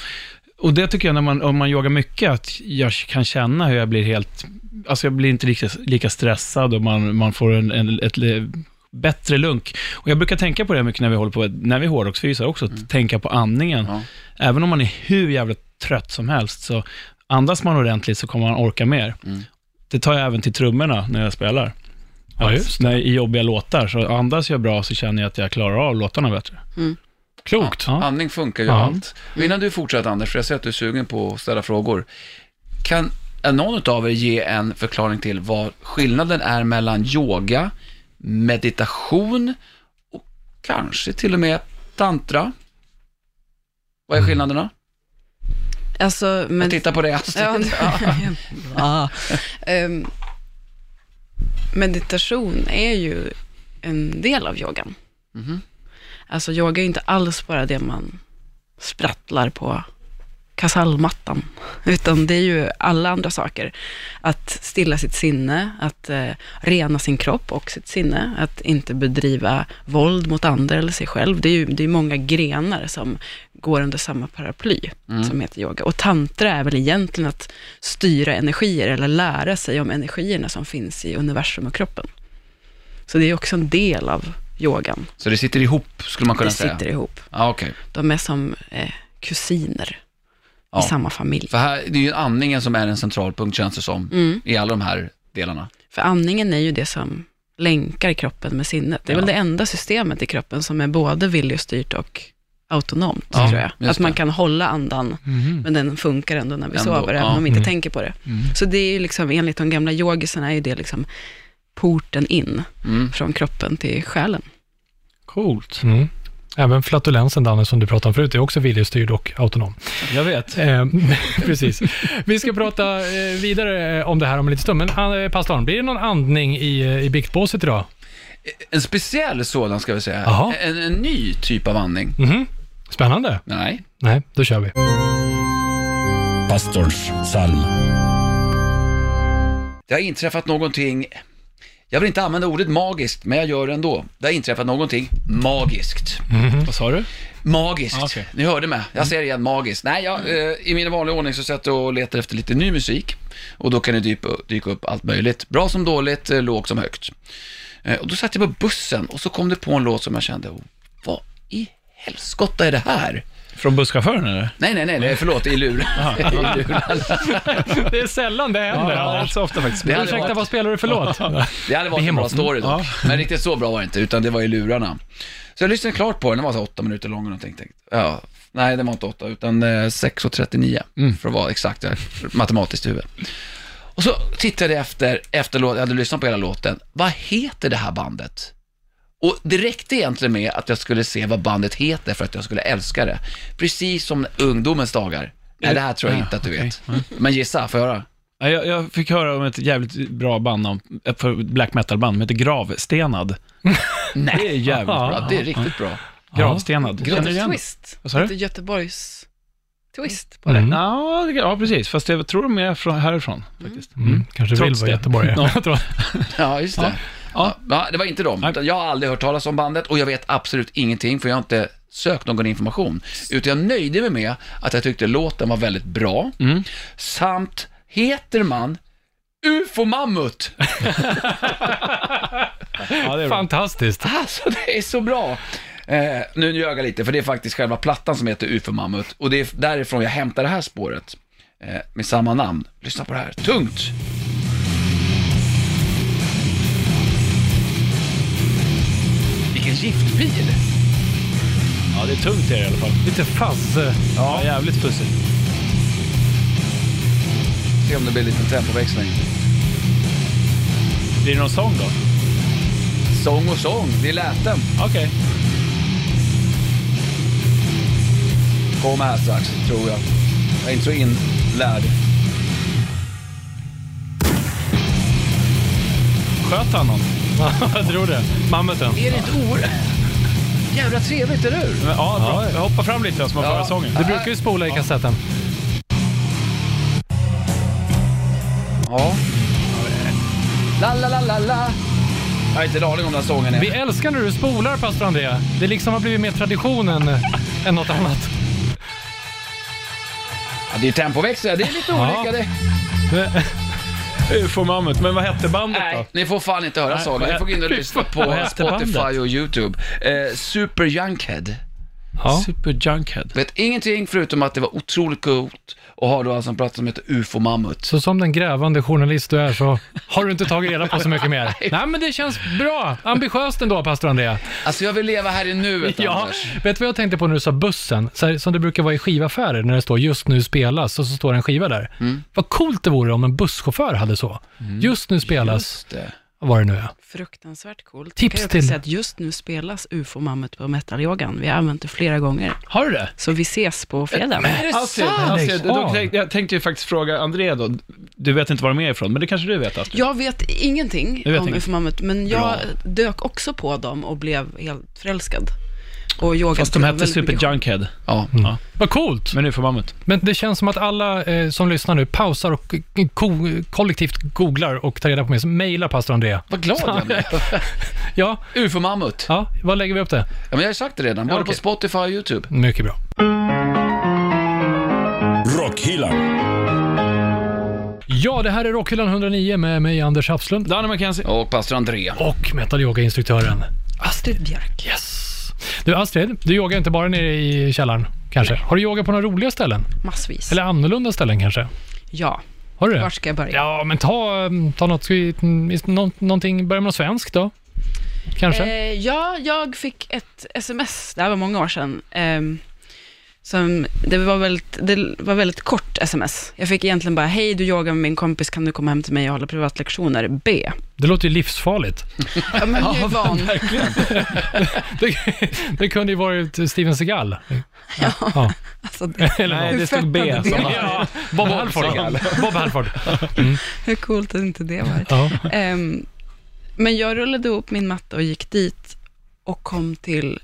S2: Och det tycker jag, när man, om man yogar mycket, att jag kan känna hur jag blir helt alltså jag blir inte lika, lika stressad och man, man får en, en, ett le- bättre lunk. Och jag brukar tänka på det mycket när vi håller på, när vi hårdrocksfysar också, att tänka på andningen.
S1: Mm. Ja.
S2: Även om man är hur jävla trött som helst, så andas man ordentligt så kommer man orka mer.
S1: Mm.
S2: Det tar jag även till trummorna när jag spelar.
S3: Ja,
S2: Att
S3: just
S2: när, I jobbiga låtar, så andas jag bra så känner jag att jag klarar av låtarna bättre.
S3: Klokt.
S2: Ja.
S1: Andning funkar ju
S3: Ja.
S1: allt. Och innan du fortsätter Anders, för jag ser att du är sugen på att ställa frågor. Kan någon av er ge en förklaring till vad skillnaden är mellan yoga, meditation och kanske till och med tantra? Vad
S3: Mm.
S1: är skillnaderna?
S5: Alltså, men...
S1: Jag tittar på dig Astrid.
S5: Ja, det- ja. Ehm, meditation är ju en del av yogan.
S1: Mhm.
S5: Alltså yoga är inte alls bara det man sprattlar på kasalmattan, utan det är ju alla andra saker. Att stilla sitt sinne, att eh, rena sin kropp och sitt sinne, att inte bedriva våld mot andra eller sig själv. Det är ju det är många grenar som går under samma paraply
S1: Mm.
S5: som heter yoga. Och tantra är väl egentligen att styra energier eller lära sig om energierna som finns i universum och kroppen. Så det är också en del av yogan.
S1: Så det sitter ihop, skulle man kunna
S5: Det
S1: säga?
S5: sitter ihop.
S1: Ja, okej.
S5: De är som eh, kusiner
S1: Ja.
S5: i samma familj.
S1: För här, det är ju andningen som är en central punkt, känns det som,
S5: Mm.
S1: i alla de här delarna.
S5: För andningen är ju det som länkar kroppen med sinnet. Det är
S1: Ja.
S5: väl det enda systemet i kroppen som är både viljestyrt och autonomt,
S1: Ja,
S5: tror jag.
S1: just
S5: Att man
S1: det.
S5: kan hålla andan, men den funkar ändå när vi
S1: Ändå,
S5: sover, även
S1: ja.
S5: om vi inte
S3: Mm.
S5: tänker på det. Så det är ju liksom, enligt de gamla yogisarna, är ju det liksom porten in
S1: Mm.
S5: från kroppen till själen.
S2: Coolt.
S3: Mm. Även flatulensen, Danne, som du pratade om förut, är också viljestyrd och autonom.
S2: Jag vet.
S3: Eh, precis. Vi ska prata eh, vidare om det här om en liten stund. Men eh, pastorn, blir det någon andning i, eh, i biktbåset idag?
S1: En speciell sådan ska vi säga.
S3: Jaha.
S1: En, en ny typ av andning.
S3: Mhm. Spännande.
S1: Nej.
S3: Nej, då kör vi.
S4: Pastorns psalm.
S1: Det har inträffat någonting, jag vill inte använda ordet magiskt, men jag gör det ändå. Det har inträffat någonting magiskt.
S2: Vad sa du?
S1: Magiskt.
S2: Ah, okej.
S1: Ni hörde mig. Jag säger igen magiskt. Nej, jag, eh, i min vanliga ordning så sätter jag och letar efter lite ny musik. Och då kan det dyka, dyka upp allt möjligt. Bra som dåligt, eh, lågt som högt. Eh, och då satt jag på bussen och så kom det på en låt som jag kände, vad i helskotta är det här?
S2: Från busschauffören eller?
S1: Nej, nej, nej, nej förlåt, i luren. I luren.
S3: Det är sällan det händer.
S2: rätt så ofta faktiskt.
S1: Det hade
S3: Ursäkta,
S1: varit-
S3: vad spelar du för låt?
S1: Det hade varit en bra story dock. Men riktigt så bra var det inte, utan det var i lurarna. Så jag lyssnade klart på den, den var så åtta minuter lång och tänkte, ja, nej den var inte åtta, utan eh, 6.39
S2: Mm.
S1: för att vara exakt där, matematiskt i huvudet. Och så tittade jag efter, efter låten, jag hade lyssnat på hela låten, vad heter det här bandet? Och det räckte egentligen med att jag skulle se vad bandet heter för att jag skulle älska det. Precis som ungdomens dagar. Nej, det här tror jag
S2: Ja,
S1: inte att du
S2: okej.
S1: vet. Men gissa, får jag höra?
S2: Ja, Jag, jag fick höra om ett jävligt bra band, om, ett för- black metal-band, som heter Gravstenad. Nej. Det är jävligt bra.
S1: Bra, det är riktigt bra.
S2: Gravstenad. Känner du igen det?
S5: Twist.
S2: Vad sa du?
S5: Lite Göteborgs twist på det.
S3: Mm.
S2: Ja, det- ja, precis. Fast jag tror de är från, härifrån, faktiskt.
S3: Mm. Kanske vill
S2: Trots
S3: vara
S2: det.
S3: göteborgare. Ja.
S1: Ja, just det. Ja.
S2: Ja.
S1: det var inte dem.
S2: Nej.
S1: Utan jag har aldrig hört talas om bandet och jag vet absolut ingenting för jag har inte sökt någon information. Utan jag nöjde mig med att jag tyckte låten var väldigt bra.
S2: Mm.
S1: Samt heter man UFO Mammut.
S2: Ja, det är bra.
S3: Fantastiskt.
S1: Alltså det är så bra. Eh, nu ljög jag lite för det är faktiskt själva plattan som heter UFO Mammut och det är därifrån jag hämtar det här spåret. Eh, med samma namn. Lyssna på det här. Tungt! Vilken giftbil!
S2: Ja, det är tungt är det i alla fall.
S3: Lite fuzz.
S2: Ja, jävligt pussigt.
S1: Se om det blir en liten tempoväxling.
S2: Blir det någon sång då?
S1: Sång och sång, det är läten.
S2: Okej.
S1: Kommer här strax, tror jag. Jag är inte så inlärd.
S2: Sköt han någon?
S3: Jag tror det. Mammuten.
S1: Är det inte oer... Jävla trevligt, eller hur?
S2: Men, ja, bra. Jag hoppar fram lite så man får
S1: Ja.
S2: höra sången.
S3: Du brukar ju spola i kassetten.
S1: Ja. La, la, la, la, la. Jag har inte en aning om den här sången är.
S3: Vi älskar när du spolar, pastor André. Det liksom har blivit mer tradition än, än något annat.
S1: Ja, det är tempoväxlar, det är lite
S3: Ja.
S1: olika det.
S2: UFO Mammut. Men vad hette bandet då?
S1: Nej, ni får fan inte höra sången. Ni får gå in och lyssna
S2: Vad
S1: på
S2: heter
S1: Spotify
S2: bandet?
S1: och YouTube. Eh, Super Junkhead.
S3: Ja.
S2: Super Junkhead.
S1: Vet ingenting förutom att det var otroligt coolt och har då alltså en platta som heter UFO Mammut.
S3: Så som den grävande journalist du är så har du inte tagit reda på så mycket mer. Nej, men det känns bra. Ambitiöst ändå, pastor André.
S1: Alltså jag vill leva här i nuet
S3: Ja,
S1: Anders.
S3: vet du vad jag tänkte på när du sa bussen? Så här, som det brukar vara i skivaffärer när det står just nu spelas och så står det en skiva där.
S1: Mm.
S3: Vad coolt det vore om en busschaufför hade så. Just nu spelas,
S1: Just det.
S3: vad var det nu är?
S5: Fruktansvärt coolt.
S3: Tips
S5: kan jag
S3: till-
S5: också säga att just nu spelas UFO Mammut på metalyogan. Vi har använt det flera gånger.
S2: Har du det?
S5: Så vi ses på fredag.
S1: Är det
S2: Astrid,
S1: sant?
S2: Astrid,
S3: Lägg
S2: då
S3: av.
S2: tänkte, jag tänkte ju faktiskt fråga André då. Du vet inte var de är ifrån, men det kanske du vet Astrid?
S5: Typ. Jag vet ingenting
S2: Du vet
S5: om
S2: inget.
S5: UFO Mammut, men jag
S2: Bra.
S5: dök också på dem och blev helt förälskad. Och yogan
S2: Fast de hette Super Junkhead.
S1: Ja.
S3: Vad coolt!
S2: Men nu får mammut.
S3: Men det känns som att alla eh, som lyssnar nu pausar och ko- kollektivt googlar och tar reda på mer. Så mejla pastor André.
S1: Vad glad jag blev.
S3: Ja,
S1: UFO-mammut.
S3: ja, vad lägger vi upp det?
S1: Ja, men jag har sagt det redan, både
S3: okej.
S1: på Spotify och YouTube.
S3: Mycket bra.
S4: Rockhyllan.
S3: Ja, det här är Rockhyllan 109 med mig, Anders Hafslund.
S2: Danne McKenzie.
S1: Och pastor André.
S3: Och metal yoga-instruktören.
S5: Astrid Björk.
S3: Yes! Du Astrid, du yogar inte bara nere i källaren, kanske? Har du yogat på några roliga ställen?
S5: Massvis.
S3: Eller annorlunda ställen kanske?
S5: Ja,
S3: Har du det?
S5: var ska jag börja?
S3: Ja, men ta, mm, ta något, ska vi, mm, is- nå- någonting, börja med något svenskt då? Kanske?
S5: Eh, ja, jag fick ett sms, det här var många år sedan, ehm, Som, det, var väldigt, det var väldigt kort sms. Jag fick egentligen bara, hej du yogar med min kompis, kan du komma hem till mig och hålla privatlektioner? B.
S3: Det låter ju livsfarligt.
S5: Ja, men jag är van.
S3: Det, det kunde ju varit Steven Seagal. Ja. ja.
S5: Alltså, det,
S3: Eller
S2: Nej,
S5: Hur
S2: det stod
S5: fett
S2: B.
S5: hade det
S2: Som
S5: varit?
S2: ja.
S3: Bob Halford. Bob Halford.
S5: hur coolt hade inte det varit?
S3: Ja.
S5: Ehm, men jag rullade ihop min matta och gick dit och kom till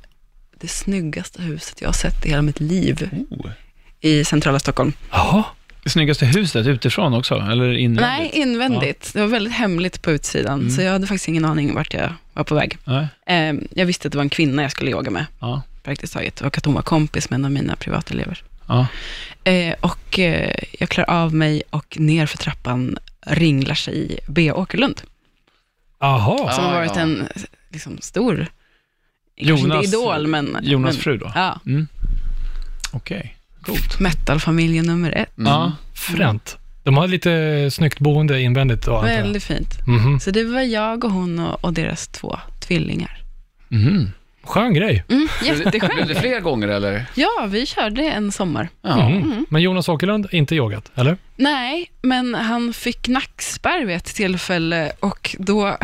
S5: det snyggaste huset jag har sett i hela mitt liv i centrala Stockholm.
S3: Jaha.
S2: Det snyggaste huset utifrån också, eller inne?
S5: Nej, invändigt. Det var väldigt hemligt på utsidan, så jag hade faktiskt ingen aning vart jag var på väg.
S2: Nej.
S5: Ehm, jag visste att det var en kvinna jag skulle yoga med,
S2: Ja.
S5: praktiskt taget, och att hon var kompis med en av mina privatelever.
S2: Ja.
S5: Eh, och eh, jag klär av mig och ner för trappan ringlar sig B. Åkerlund,
S3: Jaha.
S5: som
S1: Ja,
S5: har varit
S1: ja.
S5: en liksom, stor, kanske inte
S2: Jonas-
S5: idol, men...
S2: Jonas
S5: men,
S2: fru då?
S5: Ja,
S2: Okej, coolt.
S5: metalfamiljen nummer ett.
S2: Ja.
S3: Fränt. De har lite snyggt boende invändigt då, antar jag.
S5: Väldigt fint.
S3: Mhm.
S5: Så det var jag och hon och, och deras två tvillingar.
S2: Mhm.
S3: Skön grej.
S5: Mm,
S1: Blev det
S5: jätteskönt.
S1: fler gånger eller?
S5: Ja, vi körde en sommar.
S1: Ja.
S3: Mm.
S5: Mhm.
S3: Men Jonas Åkerlund, inte yogat, eller?
S5: Nej, men han fick nackspärr vid ett tillfälle och då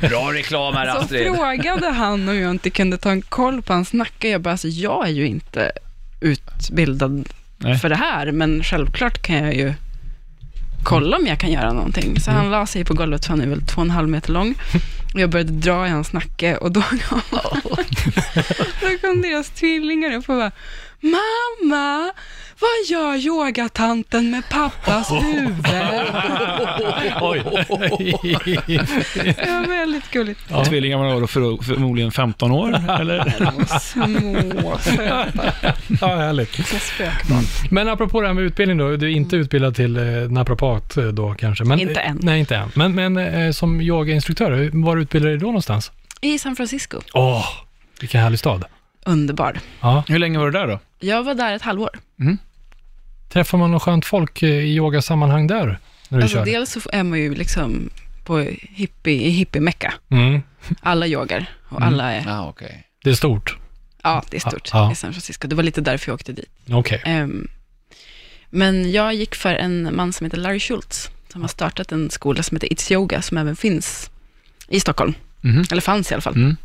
S1: Bra reklam här
S5: så
S1: Astrid.
S5: frågade han om jag inte kunde ta en koll på hans nacke. Jag bara, alltså, jag är ju inte utbildad
S2: Nej.
S5: för det här, men självklart kan jag ju kolla om jag kan göra någonting. Så han la sig på golvet, för han är väl två och en halv meter lång. Och jag började dra i hans nacke och då, då kom deras tvillingar upp och bara, mamma, vad gör yogatanten med pappas huvud?
S3: Oj.
S5: Det var väldigt gulligt.
S2: Ja. Tvillingar var då för, förmodligen 15 år, eller?
S5: Små söta
S3: ja, härligt.
S5: små spöken.
S3: Men apropå det här med utbildning då, du är inte utbildad till eh, naprapat eh, då kanske? Men,
S5: Mm. Inte än.
S3: Nej, inte än. Men, men eh, som yogainstruktör, var utbildade du dig då någonstans?
S5: I San Francisco.
S3: Åh, vilken härlig stad.
S5: Underbar.
S3: Ja.
S2: Hur länge var du där då?
S5: Jag var där ett halvår.
S3: Träffar man något skönt folk eh, i yogasammanhang där? När du
S5: Alltså,
S3: kör?
S5: dels så är man ju liksom på hippie, i hippie-mecka.
S3: Mm,
S5: Alla yogar och alla är...
S1: Ah, okej.
S3: det är stort.
S5: Ja, det är stort
S3: Ja, ja.
S5: i San Francisco. Det var lite därför jag åkte dit.
S3: Okej.
S5: Ehm, men jag gick för en man som heter Larry Schultz, som har startat en skola som heter It's Yoga, som även finns i Stockholm.
S2: Mhm.
S5: Eller fanns i alla fall.
S2: Mm.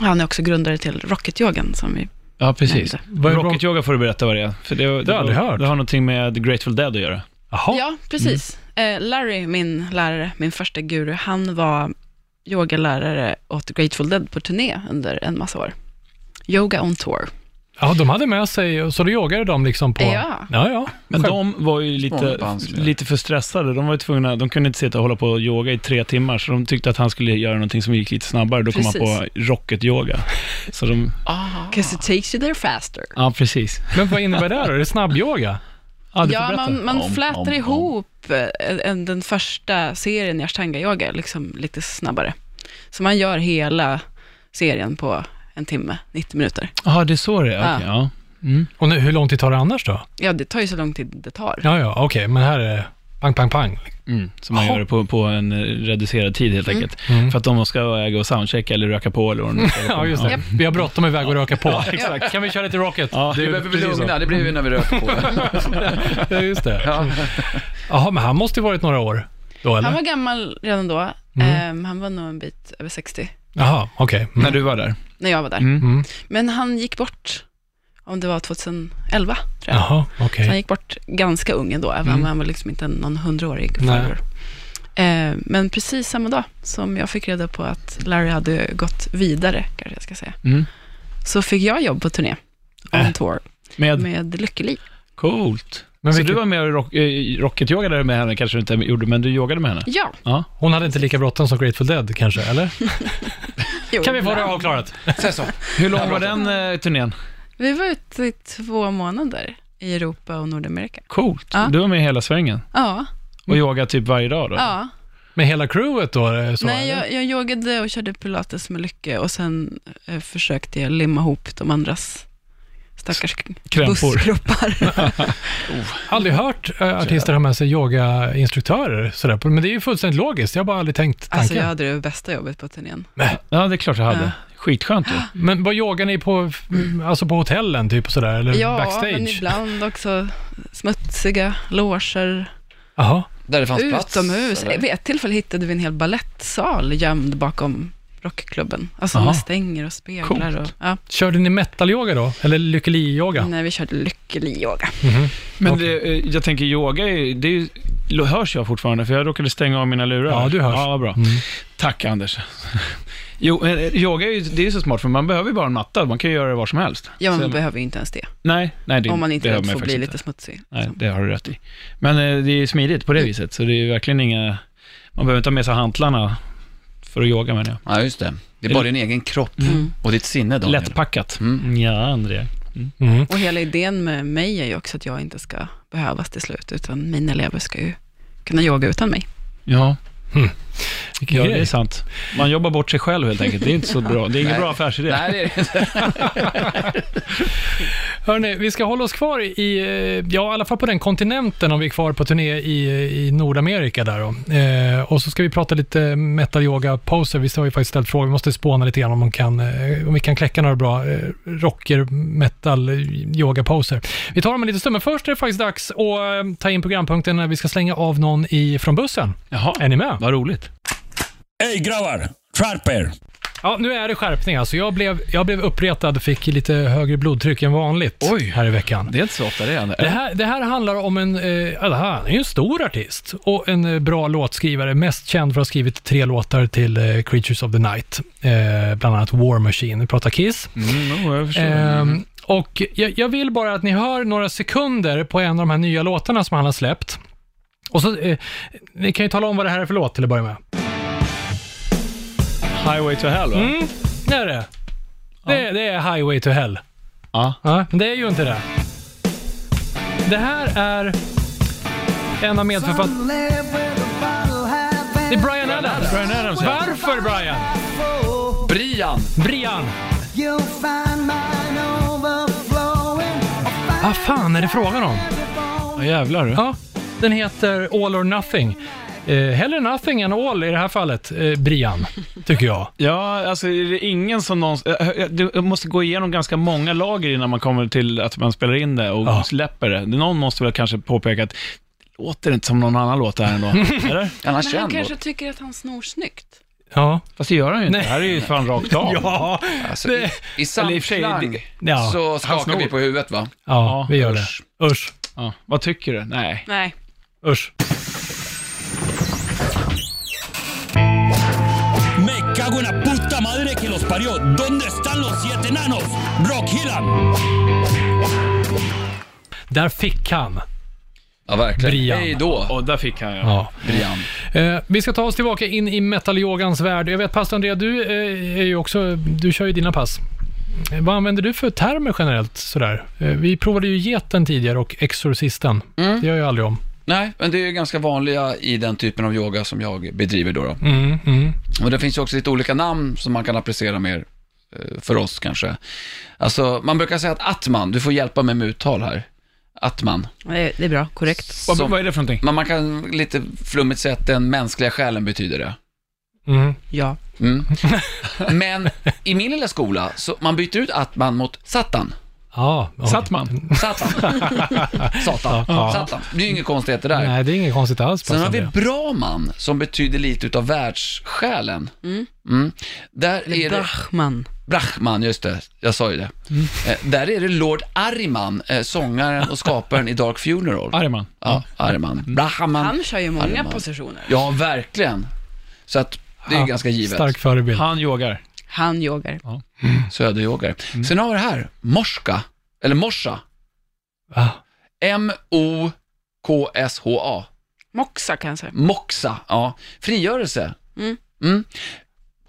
S5: Han är också grundare till Rocket-yogan, som vi
S2: Ja, precis.
S5: nämnde.
S3: Vad är rock-
S2: Rocket yoga får du berätta vad det är. För det,
S3: jag aldrig hört.
S2: Det har någonting med Grateful Dead att göra.
S3: Jaha.
S5: Ja, precis. Eh, Larry, min lärare, min första guru, han var yogalärare åt Grateful Dead på turné under en massa år. Yoga on tour.
S3: ja, de hade med sig, så du yogade dem liksom på...
S5: Ja.
S3: ja. ja.
S2: Men
S3: Själv-
S2: de var ju lite,
S1: Småbandsspelare.
S2: lite för stressade. De var ju tvungna, de kunde inte sitta och hålla på och yoga i tre timmar, så de tyckte att han skulle göra någonting som gick lite snabbare. Då kom han på
S5: Precis.
S2: rocket-yoga. Så de,
S5: Because it takes you there faster.
S2: ja, precis.
S3: Men vad innebär det då? Är det snabbyoga?
S2: Ja, du får
S5: Ja,
S2: berätta.
S5: man, man
S1: Om,
S5: flätar
S1: om, om.
S5: ihop eh, en- den första serien i ashtanga-yoga liksom lite snabbare. Så man gör hela serien på en timme, 90 minuter.
S2: Jaha, det är så det är. Okej, ja.
S3: Och nu, hur lång tid tar det annars då?
S5: Ja, det tar ju så lång tid det tar.
S3: Ja, ja, okej, men här är det pang, pang, pang.
S2: Mm, så man
S3: Jaha.
S2: gör det på, på en eh, reducerad tid helt enkelt.
S3: Mm.
S2: För att de ska väga och soundchecka eller röka på eller vad de nu ska hålla på
S3: Ja,
S2: med.
S3: just det. Vi har bråttom iväg och röka på.
S2: exakt.
S3: Kan vi köra lite Rocket?
S2: Ja,
S1: Vi
S3: är
S1: behöver bli
S3: precis så.
S1: lugna, det blir vi när vi röker på.
S3: Ja, just det.
S1: Ja.
S3: Jaha, men han måste ju varit några år då,
S5: Han
S3: eller?
S5: var gammal redan då. Ehm, han var nog en bit över 60
S3: Jaha, okej.
S2: När
S3: Mm.
S2: du var där?
S5: när jag var där.
S3: Mm.
S5: Men han gick bort, om det var 2011, tror jag.
S3: Jaha, okej.
S5: Så han gick bort ganska ung ändå, även om han var liksom inte någon hundraårig
S3: Mm. Nej.
S5: farbror. Eh, men precis samma dag som jag fick reda på att Larry hade gått vidare, kanske jag ska säga,
S2: Mm.
S5: så fick jag jobb på turné, on
S2: Äh.
S5: tour,
S2: Med?
S5: med Lykkeli.
S2: Coolt.
S3: Men
S2: så
S3: vilket-
S2: du var med och rock, eh, rocket-yogade med henne, kanske du inte gjorde, men du yogade med henne?
S5: Ja,
S3: Hon hade inte lika bråttom som Grateful Dead kanske, eller?
S5: jo,
S3: Kan vi få det
S5: ibland.
S3: avklarat?
S1: Säg så.
S2: Hur lång var den eh, turnén?
S5: Vi var ute i två månader i Europa och Nordamerika.
S2: Coolt.
S5: Ja.
S2: Du var med hela svängen
S5: Ja,
S2: och yogade typ varje dag då?
S5: ja.
S3: Med hela crewet då? eh, Så,
S5: Nej,
S3: eller?
S5: jag, jag yogade och körde pilates med Lycke och sen eh, försökte jag limma ihop de andras stackars
S2: Krämpor.
S5: busskroppar. Alltså,
S3: Aldrig hört eh, artister ha med sig yogainstruktörer sådär, på- men det är ju fullständigt logiskt. Jag har bara aldrig tänkt tanken.
S5: alltså jag hade det bästa jobbet på turnén.
S2: Ja, det är klart jag hade.
S5: Ja.
S2: Skitskönt ju.
S3: Men vad yogar ni på, alltså på hotellen typ och sådär? Eller
S5: Ja, men
S3: backstage?
S5: ibland också smutsiga loger.
S3: Jaha.
S1: Där det fanns plats?
S5: Utomhus.
S1: eller?
S5: Vid ett tillfälle hittade vi en hel ballettsal gömd bakom rockklubben. Alltså
S3: Aha.
S5: med stänger och speglar. Och, ja.
S3: Körde ni metal-yoga då? Eller lyckeli-yoga? Mhm.
S5: När vi körde lycklig yoga.
S2: Men
S3: Okej.
S2: det, eh, jag tänker yoga, är ju- det är ju, lo- hörs jag fortfarande? För jag råkade stänga av mina lurar.
S3: Ja, du hörs.
S2: Ja, vad bra.
S3: Mm.
S2: Tack Anders. Jo, eh, yoga är ju, det är ju så smart, för man behöver ju bara en matta. Man kan ju göra det var som helst.
S5: Ja, men
S2: Så-
S5: man behöver ju inte ens det.
S2: nej, nej, det
S5: om man inte är
S2: behöver
S5: rädd
S2: man ju faktiskt
S5: för att bli
S2: inte.
S5: lite smutsig.
S2: Nej,
S5: liksom.
S2: det har du rätt i. Men eh, det är ju smidigt på det viset, så det är ju verkligen inga... Man behöver inte ha med sig hantlarna för att yoga menar jag.
S1: Ja, just det. Det är bara din egen kropp
S5: Mm.
S1: och ditt sinne, Daniel.
S2: Lättpackat.
S1: Mm.
S2: Ja, André.
S3: Mm.
S5: Och hela idén med mig är ju också att jag inte ska behövas till slut, utan mina elever ska ju kunna yoga utan mig.
S2: Ja,
S3: Vilken
S2: ja, det är
S3: grej.
S2: sant. Man jobbar bort sig själv helt enkelt. Det är inte så bra. Det är ingen
S1: Nej.
S2: bra affärsidé.
S1: Nej, det är det inte.
S3: Hörni, vi ska hålla oss kvar i, eh, ja i alla fall på den kontinenten om vi är kvar på turné i, i Nordamerika där då. Eh, och så ska vi prata lite metal yoga poser. Vi har ju faktiskt ställt frågor, vi måste spåna lite grann om, man kan, eh, om vi kan kläcka några bra eh, rocker metal eh, yoga poser. Vi tar dem en liten stund, men först är det faktiskt dags att eh, ta in programpunkten när vi ska slänga av någon i, från bussen.
S2: Jaha,
S3: Är ni med?
S2: vad roligt.
S4: Ey grabbar, skärp er!
S3: Ja, nu är det skärpning alltså. Jag blev, jag blev uppretad och fick lite högre blodtryck än vanligt
S2: Oj.
S3: här i veckan.
S2: Det är inte så ofta det händer.
S3: Det här, det här handlar om en, eh, ja, det här, han är ju en stor artist och en eh, bra låtskrivare, mest känd för att ha skrivit tre låtar till eh, Creatures of the Night, eh, bland annat War Machine, vi pratar Kiss.
S2: Mm, jo, jag förstår.
S3: Ehm, och jag, jag vill bara att ni hör några sekunder på en av de här nya låtarna som han har släppt. Och så, eh, ni kan ju tala om vad det här är för låt till att börja med.
S2: Highway to hell, va?
S3: Mm, det är det. Det, det är Highway to Hell.
S2: Ja.
S3: Ja, men det är ju inte det. Det här är en av medförfattarna... Det är Brian Adams.
S2: Brian Adams, ja.
S3: Varför Brian?
S1: Eh, Brian!
S3: Brian! Vad Ah, fan är det frågan om?
S2: Ja, jävlar du.
S3: Ja, den heter All or Nothing. Eh, hellre nothing än all i det här fallet, eh, Brian, tycker jag.
S2: Ja, alltså är det ingen som någonsin... eh, eh, Du måste gå igenom ganska många lager innan man kommer till att man spelar in det och
S3: Ja.
S2: släpper det. Någon måste väl kanske påpeka att låter det inte som någon annan låt det här ändå? Eller?
S1: Han har
S5: Men han
S1: känd
S5: kanske
S1: kanske...
S5: tycker att han snor snyggt.
S3: Ja.
S2: Fast det gör han ju inte.
S3: Nej.
S2: Det här är ju fan rakt av.
S3: Ja,
S1: alltså,
S3: det-
S1: I, i
S2: Eller i och för sig,
S1: samklang
S3: det- ja,
S1: så
S2: han
S1: skakar
S2: snor.
S1: vi på huvudet, va?
S3: ja vi gör det.
S1: usch.
S3: Usch.
S2: Ja. Vad tycker du? Nej.
S5: Nej.
S3: Usch.
S4: Me cago en la puta madre que los parió. ¿Dónde están los siete enanos? Rock Hillan.
S3: Där fick han,
S1: Ja, verkligen.
S3: Brian.
S1: Hej då,
S2: Och där fick han ja.
S3: ja.
S1: Brian.
S3: Eh, vi ska ta oss tillbaka in i metallyogans värld. Jag vet, pastor Andrea, du, eh, är ju också, du kör ju dina pass. Eh, Vad använder du för termer generellt? Sådär? Eh, vi provade ju geten tidigare och exorcisten. Det gör jag aldrig om.
S1: Nej, men det är ju ganska vanliga i den typen av yoga som jag bedriver då. då.
S3: Mm, mm.
S1: Och det finns ju också lite olika namn som man kan applicera mer eh, för oss kanske. Alltså, man brukar säga att atman, du får hjälpa mig med uttal här. Atman.
S5: Det, det är bra, korrekt.
S2: Vad,
S1: Som,
S2: vad är det för någonting?
S1: men man kan lite flummigt säga att den mänskliga själen betyder det.
S3: Mm.
S5: Ja.
S1: Mm. Men i min lilla skola, så man byter ut Atman mot Satan.
S3: Ja, oj.
S2: Satt man?
S1: Satan. Satan. Satan. Det är ju inget konstigheter där.
S3: Nej, det är inget konstigt alls.
S1: Sen
S3: pastor
S1: har vi
S3: Andrea.
S1: Brahman, som betyder lite utav världssjälen. Mm. Där är det...
S5: Brahman.
S1: Brahman, just det. Jag sa ju det. Eh, där är det Lord Ariman, eh, sångaren och skaparen i Dark Funeral.
S2: Arman?
S1: ja, Ariman.
S3: Mm.
S1: Brahman.
S5: Han kör ju många
S1: Arman.
S5: positioner.
S1: Ja, verkligen. Så att det är ju
S3: Ja,
S1: ganska givet.
S3: Stark förebild.
S2: Han yogar.
S5: Han yogar.
S1: Söderyogare. Sen har vi det här, morska, eller morsa.
S3: Ah.
S1: M-O-K-S-H-A.
S5: Moxa kanske.
S1: Moxa, ja. Frigörelse.
S5: Mm.
S1: Mm.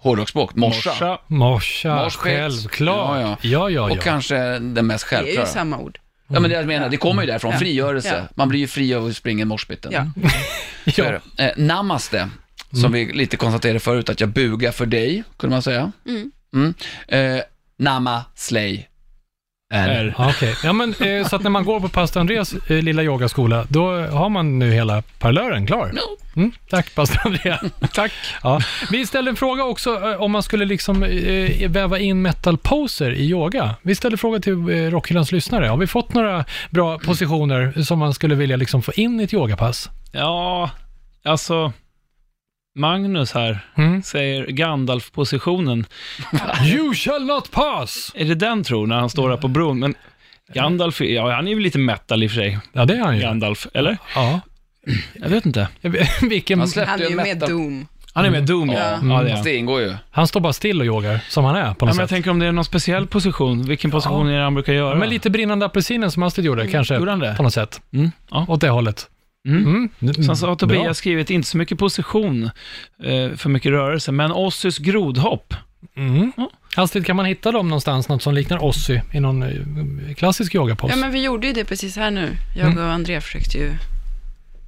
S1: Hårdrocksspråk, morsa.
S3: Morsa,
S1: Morsa.
S3: självklart.
S1: Ja,
S3: Ja, ja, ja.
S1: Och kanske den mest
S5: Det är ju
S1: självklara.
S5: samma ord.
S1: Ja, men det jag menar, det kommer ju därifrån,
S5: Ja.
S1: frigörelse.
S5: Ja.
S1: Man blir ju fri av att springa i morsbiten.
S5: Ja.
S1: Så är det. Eh, namaste, som vi lite konstaterade förut, att jag bugar för dig, kunde man säga.
S5: Mm.
S1: Mm. Eh, nama slay. Är.
S2: är.
S3: Ja, okej. Ja, men eh, så att när man går på pastor Andreas eh, lilla yogaskola, då har man nu hela parlören klar. Mm, tack pastor Andreas. tack. Ja. Vi ställde en fråga också eh, om man skulle liksom eh, väva in metal poser i yoga. Vi ställde frågan till eh, Rockhyllans lyssnare. Har vi fått några bra positioner som man skulle vilja liksom få in i ett yogapass?
S2: Ja, alltså... Magnus här
S3: Mm.
S2: säger Gandalf-positionen.
S3: You shall not pass!
S2: Är det den tror när han står där på bron? Men Gandalf, är- ja han är ju lite metal i och för sig,
S3: Ja, det är han ju.
S2: Gandalf, eller?
S3: Ja.
S2: Jag vet inte. Mm.
S3: Vilken...
S1: Han släppte
S5: Han är
S1: ju
S5: ju med
S1: metal. Mm.
S5: Doom.
S2: Han är med Doom, ja.
S5: Ja.
S2: ja det är
S1: Fast
S2: han.
S1: det ingår ju.
S3: Han står bara still och yogar, som han är på
S2: Ja,
S3: något
S2: men jag
S3: sätt.
S2: tänker om det är någon speciell position, vilken position är det han brukar göra? Typ.
S3: Ja, men lite brinnande apelsinen som Astrid gjorde, kanske.
S2: Mm. Gjorde han det?
S3: På något sätt.
S2: Mm, ja.
S3: Åt det hållet.
S2: Mm. Sen så
S3: Bra.
S2: har Tobias skrivit, inte så mycket position, eh, för mycket rörelse, men Ossys grodhopp.
S3: Mm. Astrid, kan man hitta dem någonstans, något som liknar Ossi i någon eh, klassisk yogapose?
S5: Ja, men vi gjorde ju det precis här nu. Jag och André försökte ju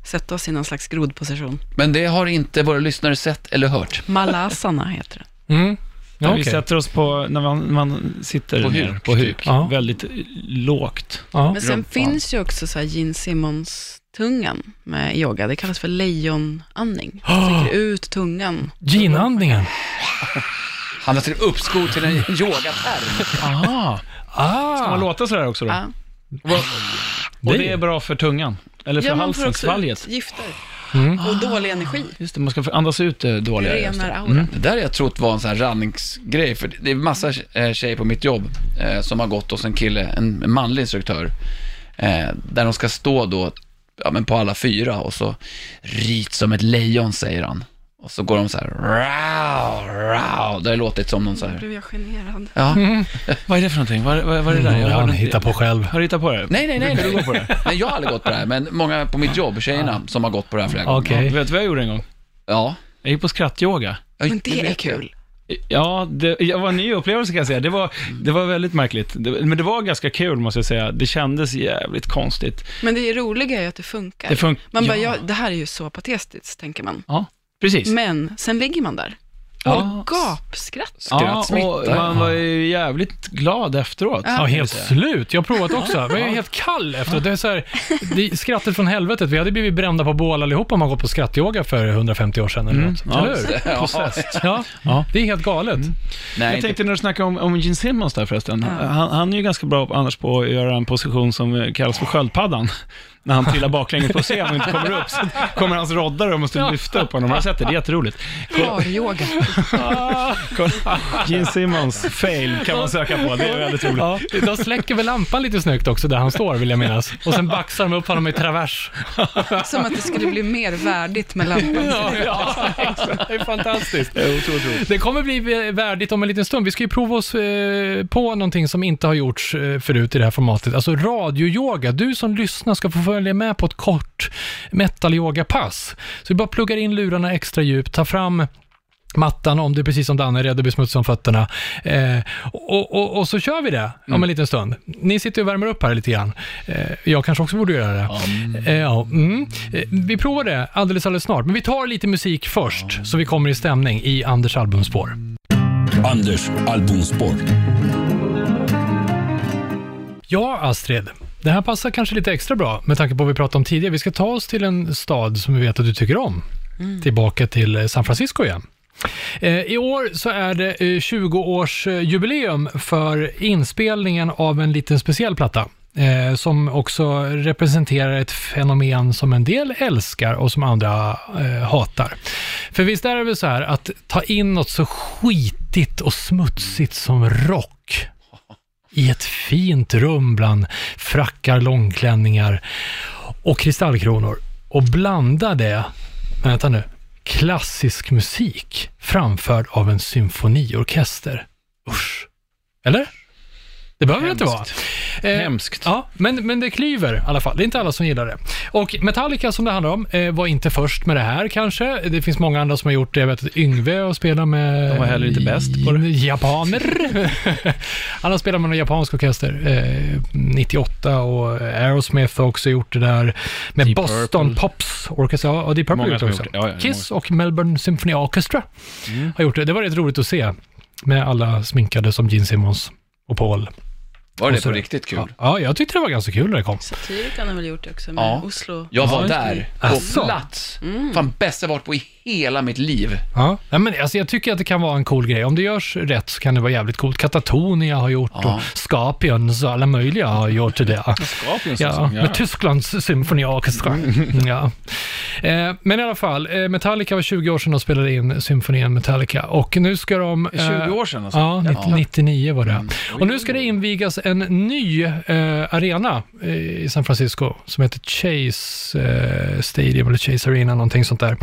S5: sätta oss i någon slags grodposition.
S1: Men det har inte våra lyssnare sett eller hört.
S5: Malasana heter den.
S3: mm.
S2: Där
S3: ja,
S2: Vi
S3: okej.
S2: sätter oss på, när man, man sitter
S1: På
S2: ner
S1: huk,
S2: på huk,
S1: typ.
S3: Ja.
S2: väldigt lågt.
S3: ja.
S5: Men sen
S1: Rumpan.
S5: finns ju också så här Gene Simmons-tungan med yoga. Det kallas för lejonandning. Man sträcker ut tungan.
S3: Ginandningen.
S1: Han har till uppskov till en yogaterm.
S2: Aha. Ska man
S3: Ah,
S2: låta sådär också då?
S5: Ja.
S2: Och Ah, det är bra för tungan, eller för
S5: Ja, man får
S2: halsen,
S5: också
S2: svalget.
S5: ut gifter
S3: Mm.
S5: och dålig energi.
S2: Just det, man ska andas ut eh, det dåliga. just
S5: Renar
S2: det.
S5: auran.
S1: Det där har jag trott var en sån här ranningsgrej, för det är massa eh, tjejer på mitt jobb eh, som har gått hos en kille, en en manlig instruktör, eh, där de ska stå då ja, men på alla fyra och så rit som ett lejon, säger han. Och så går de så här, rau, rau. Det har låtit som någon så
S5: Nu
S1: här,
S5: blev jag generad.
S1: ja.
S2: Vad är det för någonting? Vad, vad, vad är det där?
S3: Ja,
S2: hörde
S3: han
S2: inte-
S3: hittar på själv.
S2: Har du hittat på det?
S1: Nej, nej, nej. nej. nej, jag har aldrig gått på det här, men många på mitt jobb, tjejerna, som har gått på det här flera gånger.
S3: Okej.
S2: Vet du vad jag gjorde en gång?
S1: Ja.
S2: Jag gick på skrattyoga.
S1: Ja,
S5: Men
S1: du
S5: det är
S1: vet
S5: kul.
S2: Ja, det jag var en ny upplevelse kan jag säga. Det var, det var väldigt märkligt. Det, men det var ganska kul måste jag säga. Det kändes jävligt konstigt.
S5: Men det roliga är ju att det funkar.
S2: Det fun-
S5: man bara,
S2: ja.
S5: ja, det här är ju så patetiskt, tänker man.
S2: Ja, precis.
S5: Men sen ligger man där
S2: Ja.
S5: och gapskratt.
S2: Ja, och
S1: Skrattsmitta.
S2: man var ju jävligt glad efteråt.
S5: Ja.
S3: Ja,
S2: kan jag
S3: helt
S2: säga.
S3: slut. Jag har provat också. Men jag är helt kall efteråt. Det är så här, det är skrattet från helvetet. Vi hade blivit brända på bål allihopa om man gått på skrattyoga för 150 år sedan eller
S2: Mm.
S3: något.
S2: Ja.
S3: Eller hur?
S1: Ja.
S3: Ja.
S2: Ja.
S3: det är helt galet.
S1: Nej,
S2: Jag
S1: inte-
S2: tänkte när du snackade om, om Gene Simmons där förresten. Han, han är ju ganska bra annars på att göra en position som eh, kallas för sköldpaddan. När han trillar baklänges på scen och inte kommer upp, så kommer hans roddare och måste lyfta upp honom. Har du sett det? Det är jätteroligt.
S5: Klar-yoga.
S2: Kolla. Gene Simmons fail kan man söka på. Det är väldigt roligt.
S3: Ja, de släcker väl lampan lite snyggt också där han står, vill jag minnas. Och sen baxar de upp honom i travers.
S5: Som att det skulle bli mer värdigt med lampan.
S3: det är fantastiskt.
S2: Det är otroligt roligt.
S3: Det kommer bli eh, värdigt om en liten stund. Vi ska ju prova oss eh, på någonting som inte har gjorts eh, förut i det här formatet. Alltså radioyoga. Du som lyssnar ska få följa med på ett kort metal-yoga-pass. Så vi bara pluggar in lurarna extra djupt, tar fram mattan om det är precis som Danne är rädd att bli smutsig om fötterna. Eh, och, och, och så kör vi det
S2: Mm.
S3: om en liten stund. Ni sitter och värmer upp här lite grann. Eh, jag kanske också borde göra det. Eh, ja, mm. eh, vi provar det alldeles, alldeles snart. Men vi tar lite musik först, så vi kommer i stämning i Anders albumspår.
S4: Anders albumspår.
S3: Ja, Astrid. Det här passar kanske lite extra bra med tanke på vad vi pratade om tidigare. Vi ska ta oss till en stad som vi vet att du tycker om. Tillbaka till eh, San Francisco igen. Eh, I år så är det eh, 20-årsjubileum för inspelningen av en liten speciell platta. Eh, som också representerar ett fenomen som en del älskar och som andra eh, hatar. För visst är det väl så här att ta in något så skitigt och smutsigt som rock i ett fint rum bland frackar, långklänningar och kristallkronor och blanda det, men vänta nu, klassisk musik framförd av en symfoniorkester. Usch. Eller? Det behöver det inte vara. Eh,
S2: Hemskt.
S3: Ja, men, men det klyver i alla fall. Det är inte alla som gillar det. Och Metallica som det handlar om eh, var inte först med det här kanske. Det finns många andra som har gjort det. Jag vet att Yngve har spelat med...
S2: De var heller inte bäst på det.
S3: Japaner. Han har spelat med någon japansk orkester. Eh, 98 och Aerosmith har också gjort det där. Med
S2: Deep
S3: Boston
S2: Purple.
S3: Pops Orchestra. Ja, Deep Purple har
S2: Många
S3: gjort det
S2: som
S3: också.
S2: har gjort det. Mm. Ja, ja, det är
S3: Kiss och Melbourne Symphony Orchestra har gjort det. Det var rätt roligt att se med alla sminkade som Gene Simmons och Paul.
S1: Var
S3: Och
S1: det
S3: så-
S1: på riktigt kul?
S3: Ja, jag tyckte det var ganska kul när det kom.
S5: Satirikan har väl gjort det också med
S1: Ja.
S5: Oslo.
S1: Jag var
S3: Ja,
S1: där, på
S3: Asså.
S1: plats. Fan, bästa jag varit på i hela mitt liv.
S3: Ja. Nej, men alltså, jag tycker att det kan vara en cool grej. Om det görs rätt så kan det vara jävligt coolt. Katatonia har gjort
S1: Ja.
S3: och Scorpions och alla möjliga har gjort det.
S2: Scorpions
S3: Ja,
S2: säsong, ja.
S3: med Tysklands symfoniorkester. Ja. Eh, men i alla fall, eh, Metallica var 20 år sedan de spelade in symfonien Metallica och nu ska de... eh,
S1: 20 år sedan alltså?
S3: Ja,
S1: Jävlar.
S3: 99 var det. Och nu ska det invigas en ny eh, arena eh, i San Francisco som heter Chase eh, Stadium eller Chase Arena, någonting sånt där.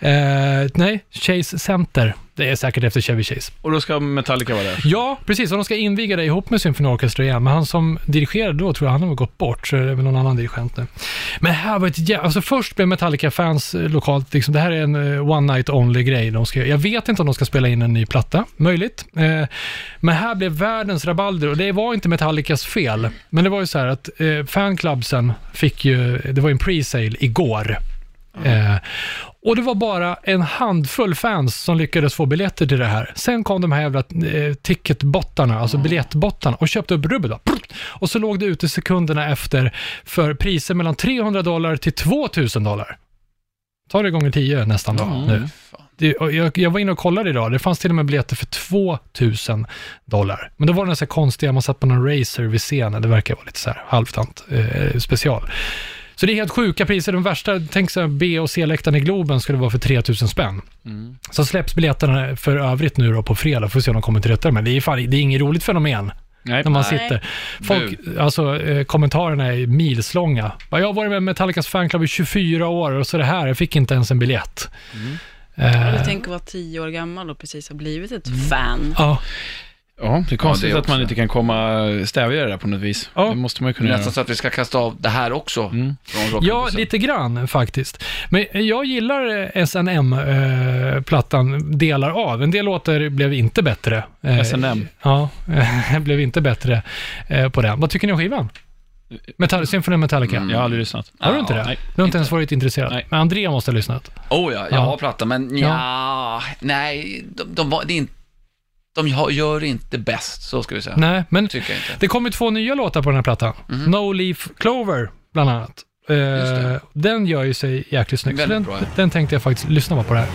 S3: Eh, nej, Chase Center. Det är säkert efter Chevy Chase.
S2: Och då ska Metallica vara där.
S3: Ja, precis. Och de ska inviga det ihop med symfoniorkester igen. Men han som dirigerade då tror jag han har gått bort, så det är väl någon annan dirigent nu. Men det här var ett jävla... Alltså först blev Metallica-fans eh, lokalt, liksom, det här är en eh, one night only-grej. De ska, jag vet inte om de ska spela in en ny platta, möjligt. Eh, men här blev världens rabalder och det var inte Metallicas fel. Men det var ju så här att eh, fanclubsen fick ju, det var ju en pre-sale igår. Eh, och det var bara en handfull fans som lyckades få biljetter till det här. Sen kom de här jävla eh, ticketbottarna, alltså biljettbottarna, och köpte upp rubbet. bara. Och så låg det ute sekunderna efter för priser mellan 300 dollar till 2000 dollar. Ta det gånger 10 nästan då. Nu. Det, och jag, jag var inne och kollade idag, det fanns till och med biljetter för 2000 dollar. Men då var det så här konstiga, man satt på någon racer vid scenen, det verkar vara lite så här halvtant eh, special. Så det är helt sjuka priser. De värsta, tänk så här, B och C-läktaren i Globen skulle vara för 3000 spänn. Så släpps biljetterna för övrigt nu då på fredag, får se om de kommer till rätta med det. Det är, fan, det är inget roligt fenomen
S2: Nej.
S3: när man
S5: Nej.
S3: sitter. Folk, alltså, eh, kommentarerna är milslånga. Bara, Jag har varit med i Metallicas fanclub i 24 år och så det här, jag fick inte ens en biljett. Eh,
S5: Eller tänk att vara tio år gammal och precis har blivit ett
S2: Mm.
S5: fan.
S3: ja.
S2: Ja, det är konstigt
S1: Ja, det
S2: att man
S1: också.
S2: inte kan komma stävja det där på något vis.
S3: Ja.
S2: Det måste man ju kunna
S1: Nästan
S2: göra.
S1: så att vi ska kasta av det här också. Från rockbussen.
S3: Mm. ja, lite grann faktiskt. Men eh, jag gillar SNM-plattan eh, delar av. En del låtar blev inte bättre. Eh,
S2: SNM.
S3: Ja, eh, blev inte bättre eh, på den. Vad tycker ni om skivan? Metall- Symphony Metallica.
S2: Jag har aldrig lyssnat.
S3: Har du inte det?
S2: Mm. Nej.
S3: du har inte ens varit intresserad.
S2: Nej.
S3: Men Andrea måste ha lyssnat.
S1: Oh ja, jag
S3: Ja.
S1: har plattan, men ja, nej, de, de, var, det är inte, de ha- gör inte bäst, så ska vi säga.
S3: Nej, men
S1: Tycker jag inte. Mhm.
S3: Det kommer två nya låtar på den här plattan. No Leaf Clover, bland annat. Eh,
S1: det.
S3: den gör ju sig jäkligt snygg. Så
S1: Väldigt
S3: den,
S1: bra, ja.
S3: den tänkte jag faktiskt lyssna på, på det här.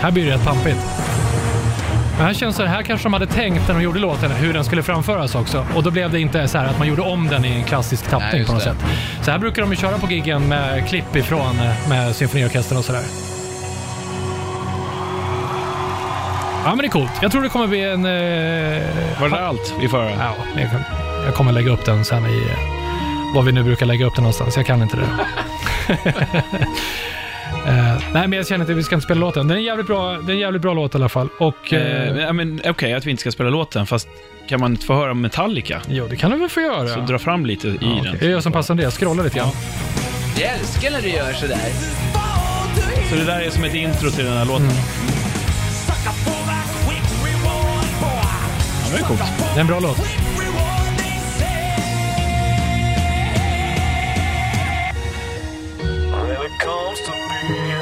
S3: Här blir det rätt pampigt. Men här känns det, här kanske de hade tänkt när de gjorde låten hur den skulle framföras också. Och då blev det inte så här att man gjorde om den i en klassisk tappning
S1: Nej, just
S3: på något
S1: det.
S3: sätt. Så här brukar de ju köra på giggen med klipp ifrån eh, med symfoniorkestern och sådär. Ja men det är coolt. Jag tror det kommer bli en... Eh,
S2: Var det där allt vi får höra?
S3: ja, jag, kan, jag kommer lägga upp den sen i... eh, Var vi nu brukar lägga upp den någonstans. Jag kan inte det. Eh, nej men jag känner inte att vi ska inte spela låten. Den är en jävligt bra, den är en jävligt bra låt i alla fall. Och...
S2: Eh,
S3: Eh,
S2: ja, men Okej, att vi inte ska spela låten, fast kan man inte få höra Metallica?
S3: jo det kan du väl få göra.
S2: Så dra fram lite i
S3: Ja, okej.
S2: den.
S3: Jag gör som passar Andreas, scrollar lite grann.
S1: Jag älskar när du gör sådär.
S2: Så det där är som ett intro till den här låten. Ja, det är coolt.
S3: Det är en bra låt.
S2: Ja,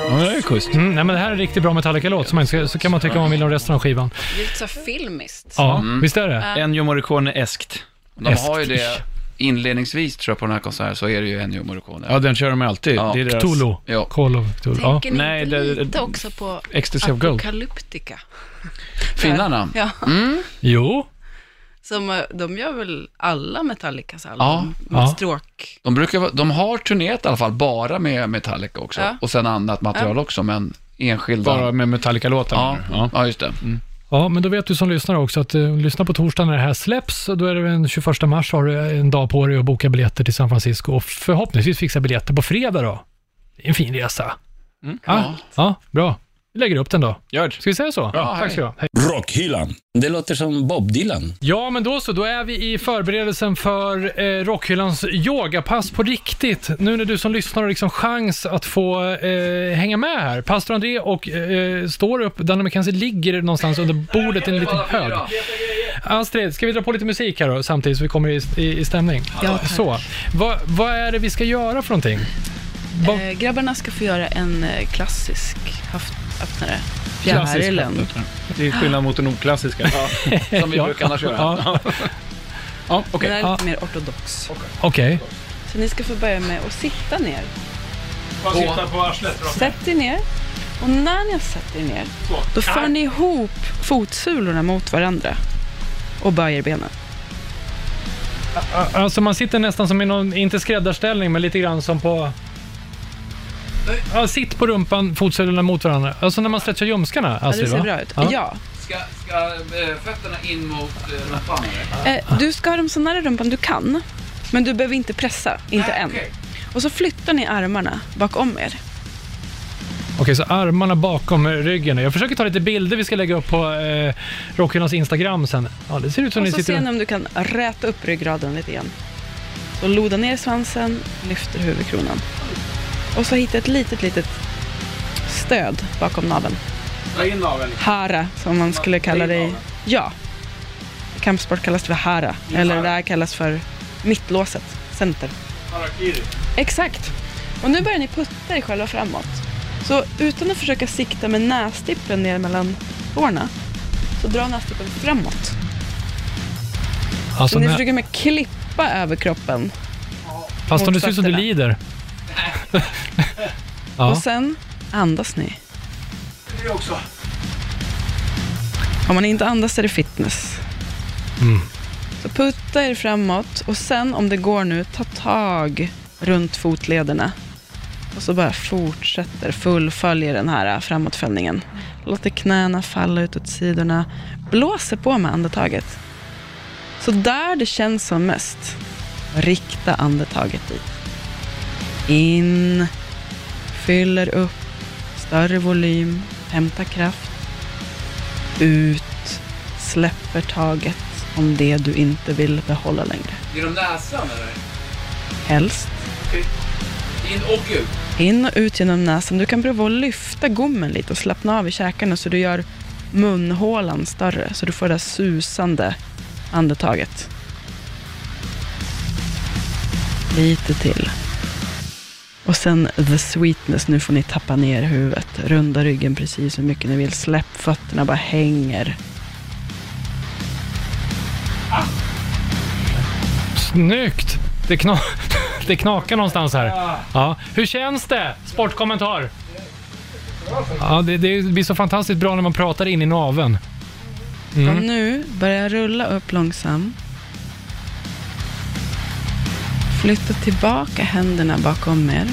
S2: men det är schysst.
S3: Mm, nej, men det här är en riktigt bra Metallica-låt, så, man ska- så kan man tycka vad man vill om resten av skivan.
S5: Det är lite så här filmiskt.
S3: Ja,
S2: Mm.
S3: visst är det?
S2: Ennio Morricone-eskt.
S1: De har ju
S3: Hästfish.
S1: det inledningsvis, tror jag, på den här konserten, så är det ju Ennio Morricone.
S2: Ja, den kör de alltid.
S1: Ja.
S2: Det är deras
S3: Cthulhu.
S1: Ja.
S3: Call of Cthulhu. Ja.
S5: Tänker ni
S2: Nej,
S5: inte
S2: det-
S5: lite också på
S2: Ecstasy of Gold.
S5: Apocalyptica?
S1: Finnarna.
S5: Ja.
S2: Mm.
S3: Jo,
S5: Som, eh, de gör väl alla Metallicas
S1: Ja,
S5: album? med
S3: ja.
S5: Stråk.
S1: De, brukar, vara- de har turnerat i alla fall, bara med Metallica också.
S5: Ja.
S1: Och sen annat material också, men enskilda.
S2: Bara med Metallica-låtar.
S1: ja.
S2: menar du?
S1: Ja. ja, just det.
S3: Mm. Ja, men då vet du som lyssnar också att eh, lyssna på torsdag när det här släpps. Då är det den 21 mars har du eh, en dag på dig att boka biljetter till San Francisco och förhoppningsvis fixa biljetter på fredag då. Det är en fin resa. Mm. ja, ja, bra. Vi lägger upp den då.
S2: Gör det.
S3: Ska vi säga så?
S1: Ja,
S3: Tack ska du ha. Hej.
S4: Rockhyllan. Det låter som Bob Dylan.
S3: Ja, men då så. Då är vi i förberedelsen för eh, Rockhyllans yogapass på riktigt. Nu när du som lyssnar har liksom chans att få eh, hänga med här. Pastor André och eh, står upp, Danne McKenzie ligger någonstans under bordet i en liten hög. Astrid, ska vi dra på lite musik här då samtidigt så vi kommer i, i, i stämning?
S5: Ja, tack.
S3: Så, vad, vad är det vi ska göra för någonting? Ba-
S5: Eh, grabbarna ska få göra en eh, klassisk haft öppnare. Fjärilen.
S7: Det är skillnad mot den oklassiska.
S1: Som vi brukar annars göra.
S3: Ja,
S2: Ja, okej.
S5: Den är
S3: Ja.
S5: lite mer ortodox.
S3: Okej.
S5: Så ni ska få börja med att sitta ner.
S7: Bara sitta på arslet rakt.
S5: Sätt er ner. Och när ni har satt er ner, då för ni ihop fotsulorna mot varandra och böjer benen.
S3: Alltså man sitter nästan som i någon, inte skräddarställning, men lite grann som på... Ja, sitt på rumpan, fotsulorna mot varandra. Alltså när man stretchar ljumskarna,
S5: Ja,
S3: Astrid,
S5: det ser
S3: va?
S5: bra ut.
S3: Ja.
S5: Ja.
S1: Ska, ska eh, fötterna in mot eh, rumpan? eller?
S5: Eh, Du ska ha dem så nära rumpan du kan, men du behöver inte pressa, inte än.
S1: Ah, Okej.
S5: Och så flyttar ni armarna bakom er.
S3: Okej, så armarna bakom ryggen. Jag försöker ta lite bilder vi ska lägga upp på eh, Rockhyllans Instagram sen. Ja, det ser ut som
S5: Och
S3: ni
S5: så
S3: sitter...
S5: ser ni om du kan räta upp ryggraden lite igen. Så loda ner svansen, lyfter huvudkronan. Och så hitta ett litet, litet stöd bakom naveln.
S2: Dra in naveln.
S5: Hara, som man skulle kalla det i... Ja. I Kampsport kallas det för hara. Eller det här kallas för mittlåset, center.
S2: Harakiri.
S5: Exakt. Och nu börjar ni putta er själva framåt. Så utan att försöka sikta med nästippen ner mellan tårna, så dra nästippen framåt.
S3: Alltså,
S5: Så ni
S3: när...
S5: försöker med klippa över kroppen.
S3: Fast om det ser ut som du
S5: fötterna.
S3: lider. ja.
S5: Och sen andas ni. Om man inte andas är det fitness.
S3: Mm.
S5: Så putta er framåt och sen om det går nu, ta tag runt fotlederna. Och så bara fortsätter, fullföljer den här äh, framåtfällningen. Låter knäna falla ut åt sidorna. Blåser på med andetaget. Så där det känns som mest, rikta andetaget dit. In, fyller upp, större volym, hämta kraft. Ut, släpper taget om det du inte vill behålla längre.
S1: Genom näsan eller?
S5: Helst
S1: In och ut.
S5: in och ut genom näsan. Du kan prova att lyfta gommen lite och slappna av i käkarna så du gör munhålan större så du får det där susande andetaget. Lite till. Och sen the sweetness. Nu får ni tappa ner huvudet. Runda ryggen precis hur mycket ni vill. Släpp fötterna, bara hänger.
S3: Snyggt! Det, kna... det knakar någonstans här. Ja. Hur känns det? Sportkommentar. Ja, det, det blir så fantastiskt bra när man pratar in i naveln.
S5: Och nu börjar jag rulla upp långsamt. Flytta tillbaka händerna bakom er.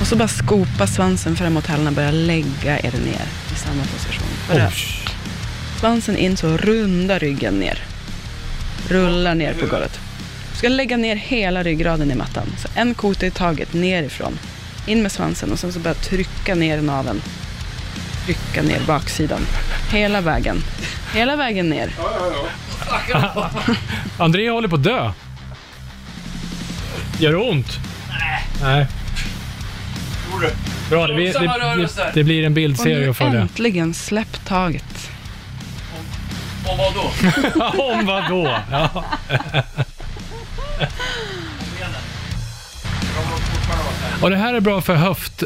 S5: Och så bara skopa svansen framåt hälarna och börja lägga er ner i samma position. Bara svansen in så runda ryggen ner. Rulla ner på golvet. Du ska lägga ner hela ryggraden i mattan. Så en kota i taget nerifrån. In med svansen och sen så bara trycka ner naveln trycka ner baksidan. Hela vägen. Hela vägen ner.
S3: André håller på att dö. Gör det ont? Nej. Nej. Bra, det blir,
S1: Långsamma
S3: det, det,
S1: rörelser.
S3: det blir en
S5: Och
S3: bildserie
S5: nu
S3: att följa.
S5: äntligen släpp taget.
S1: Och vad då?
S3: Om vad då? Ja. Och det här är bra för höft...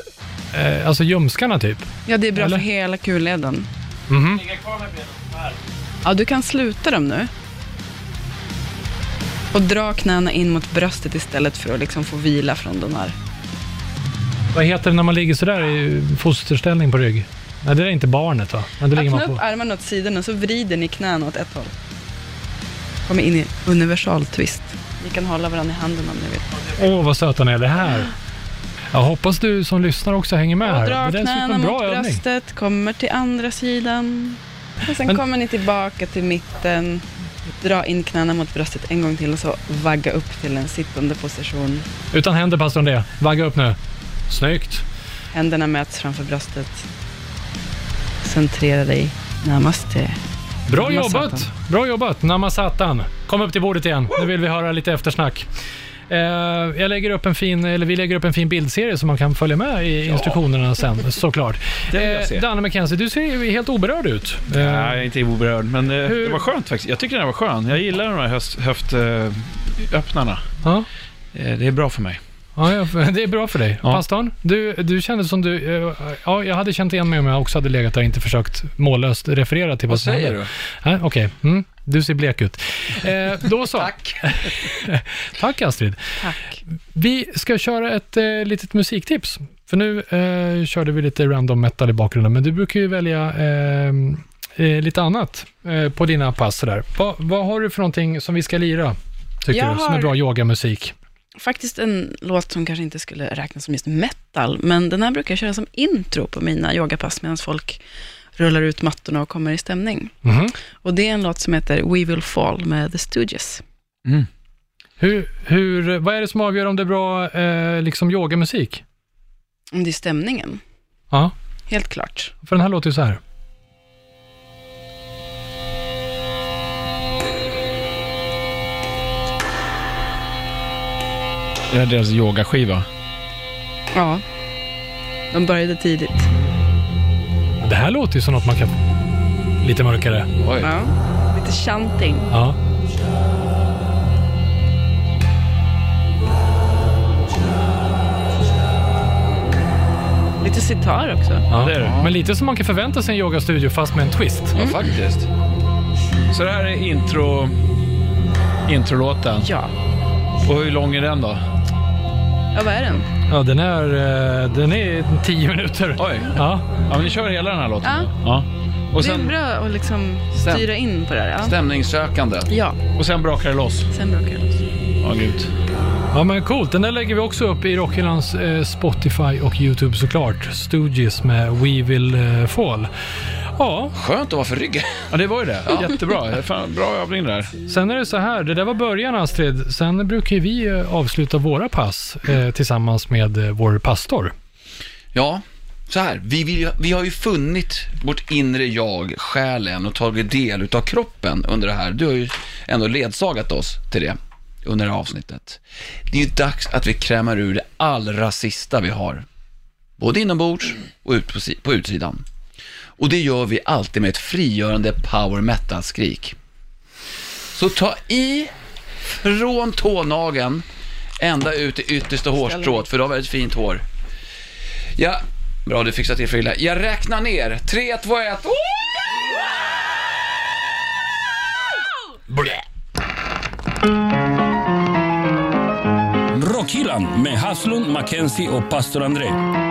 S3: Eh, alltså ljumskarna typ.
S5: Ja, det är bra
S3: Eller?
S5: för hela kulleden.
S3: Mhm.
S5: Ja, du kan sluta dem nu. Och dra knäna in mot bröstet istället för att liksom få vila från de här.
S3: Vad heter det när man ligger sådär i fosterställning på rygg? Nej, det är inte barnet va? Men det ligger
S5: Öppna
S3: man
S5: upp
S3: på.
S5: armarna åt sidorna så vrider ni knäna åt ett håll. Kommer in i universal twist. Ni kan hålla varandra i handen om ni vill.
S3: Åh, vad söta ni är. Det här. Jag hoppas du som lyssnar också hänger med
S5: Och
S3: här. Det
S5: dra
S3: där ser ut som
S5: knäna
S3: en
S5: mot
S3: bra övning.
S5: bröstet, kommer till andra sidan. Och sen
S3: Men-
S5: kommer ni tillbaka till mitten. Dra in knäna mot bröstet en gång till och så vagga upp till en sittande position.
S3: Utan händer, pastor det. Vagga upp nu. Snyggt.
S5: Händerna möts framför bröstet. Centrera dig. Namaste.
S3: Bra
S5: Namasatan.
S3: jobbat! Bra jobbat, Namasatan. Kom upp till bordet igen. Nu vill vi höra lite eftersnack. Eh, jag lägger upp en fin, eller vi lägger upp en fin bildserie som man kan följa med i instruktionerna sen, såklart.
S2: Det vill jag se.
S3: Eh, Danne McKenzie, du ser ju helt oberörd ut. Eh,
S7: Nej, jag är inte oberörd, men
S2: eh,
S7: det,
S3: Hur-
S7: det var skönt faktiskt. Jag tycker den här var
S2: eh,
S7: skön. Jag gillar de här höst, höftöppnarna.
S3: ja.
S7: Det är bra för mig.
S3: Ja, ja, för- det är bra för dig.
S2: Ja.
S3: Pastorn, du, du kände som du... eh, Ja, jag hade känt igen mig om jag också hade legat där och inte försökt mållöst referera till vad,
S1: Vad
S3: som
S1: säger
S3: hände.
S1: du?
S3: Nej, Okej, mm, du ser blek ut. Eh, då så. Tack. Tack Astrid.
S5: Tack.
S3: Vi ska köra ett eh, litet musiktips. För nu eh, körde vi lite random metal i bakgrunden, men du brukar ju välja eh, eh, lite annat eh, på dina pass. Sådär. Va, vad har du för någonting som vi ska lira, tycker
S5: Jag
S3: du, som är
S5: har-
S3: bra yogamusik?
S5: Faktiskt en låt som kanske inte skulle räknas som just metal, men den här brukar jag köra som intro på mina yogapass medan folk rullar ut mattorna och kommer i stämning.
S3: Mhm.
S5: Och det är en låt som heter We Will Fall med The Stooges.
S3: Hur, hur, vad är det som avgör om det är bra eh, liksom yogamusik?
S5: Om det är stämningen,
S3: Ja,
S5: helt klart.
S3: för den här låter ju så här.
S2: Det är deras yogaskiva.
S5: Ja. De började tidigt.
S3: Det här låter ju som något man kan... Lite mörkare.
S5: Ja. Lite chanting.
S3: Ja.
S5: Lite sitar också.
S3: ja.
S2: det är det.
S3: Men lite som man kan förvänta sig en yogastudio fast med en twist.
S1: Ja, faktiskt.
S2: Så det här är intro... Introlåten.
S5: Ja.
S2: Och hur lång är den då?
S5: Ja, vad är den?
S3: Ja, den är, eh, den är tio minuter.
S2: Oj.
S3: Ja.
S2: Ja, men ni kör hela den här låten?
S5: Ja.
S2: då? ja. Och,
S5: Det är
S2: sen,
S5: bra att liksom
S1: Sen-
S5: styra in på det här. Ja,
S1: Stämningssökande.
S5: ja
S2: och sen brakar det loss?
S5: sen brakar det loss.
S2: Ja, grymt.
S3: ja, men coolt. Den där lägger vi också upp i Rockhyllans eh, Spotify och YouTube såklart. Stooges med We Will eh, Fall. Ja,
S1: Skönt att vara för ryggen.
S2: Ja, det var ju det. Jättebra. Fan, bra övning det där.
S3: sen är det så här. Det där var början Astrid. Sen brukar ju vi eh, avsluta våra pass eh, tillsammans med eh, vår pastor.
S1: Ja, så här. Vi, vill, ju- vi har ju funnit vårt inre jag, själen och tagit del utav kroppen under det här. Du har ju ändå ledsagat oss till det under det här avsnittet. Det är ju dags att vi krämar ur det allra sista vi har. Både inombords och ut på, si- på utsidan. Och det gör vi alltid med ett frigörande power metal-skrik. Så ta i från tånageln ända ut i yttersta hårstrået, för du har väldigt fint hår. Ja, bra du fixar till Frilla. Jag räknar ner. 3, 2, 1.
S4: Rockhyllan med Haslund, Mackenzie och pastor André.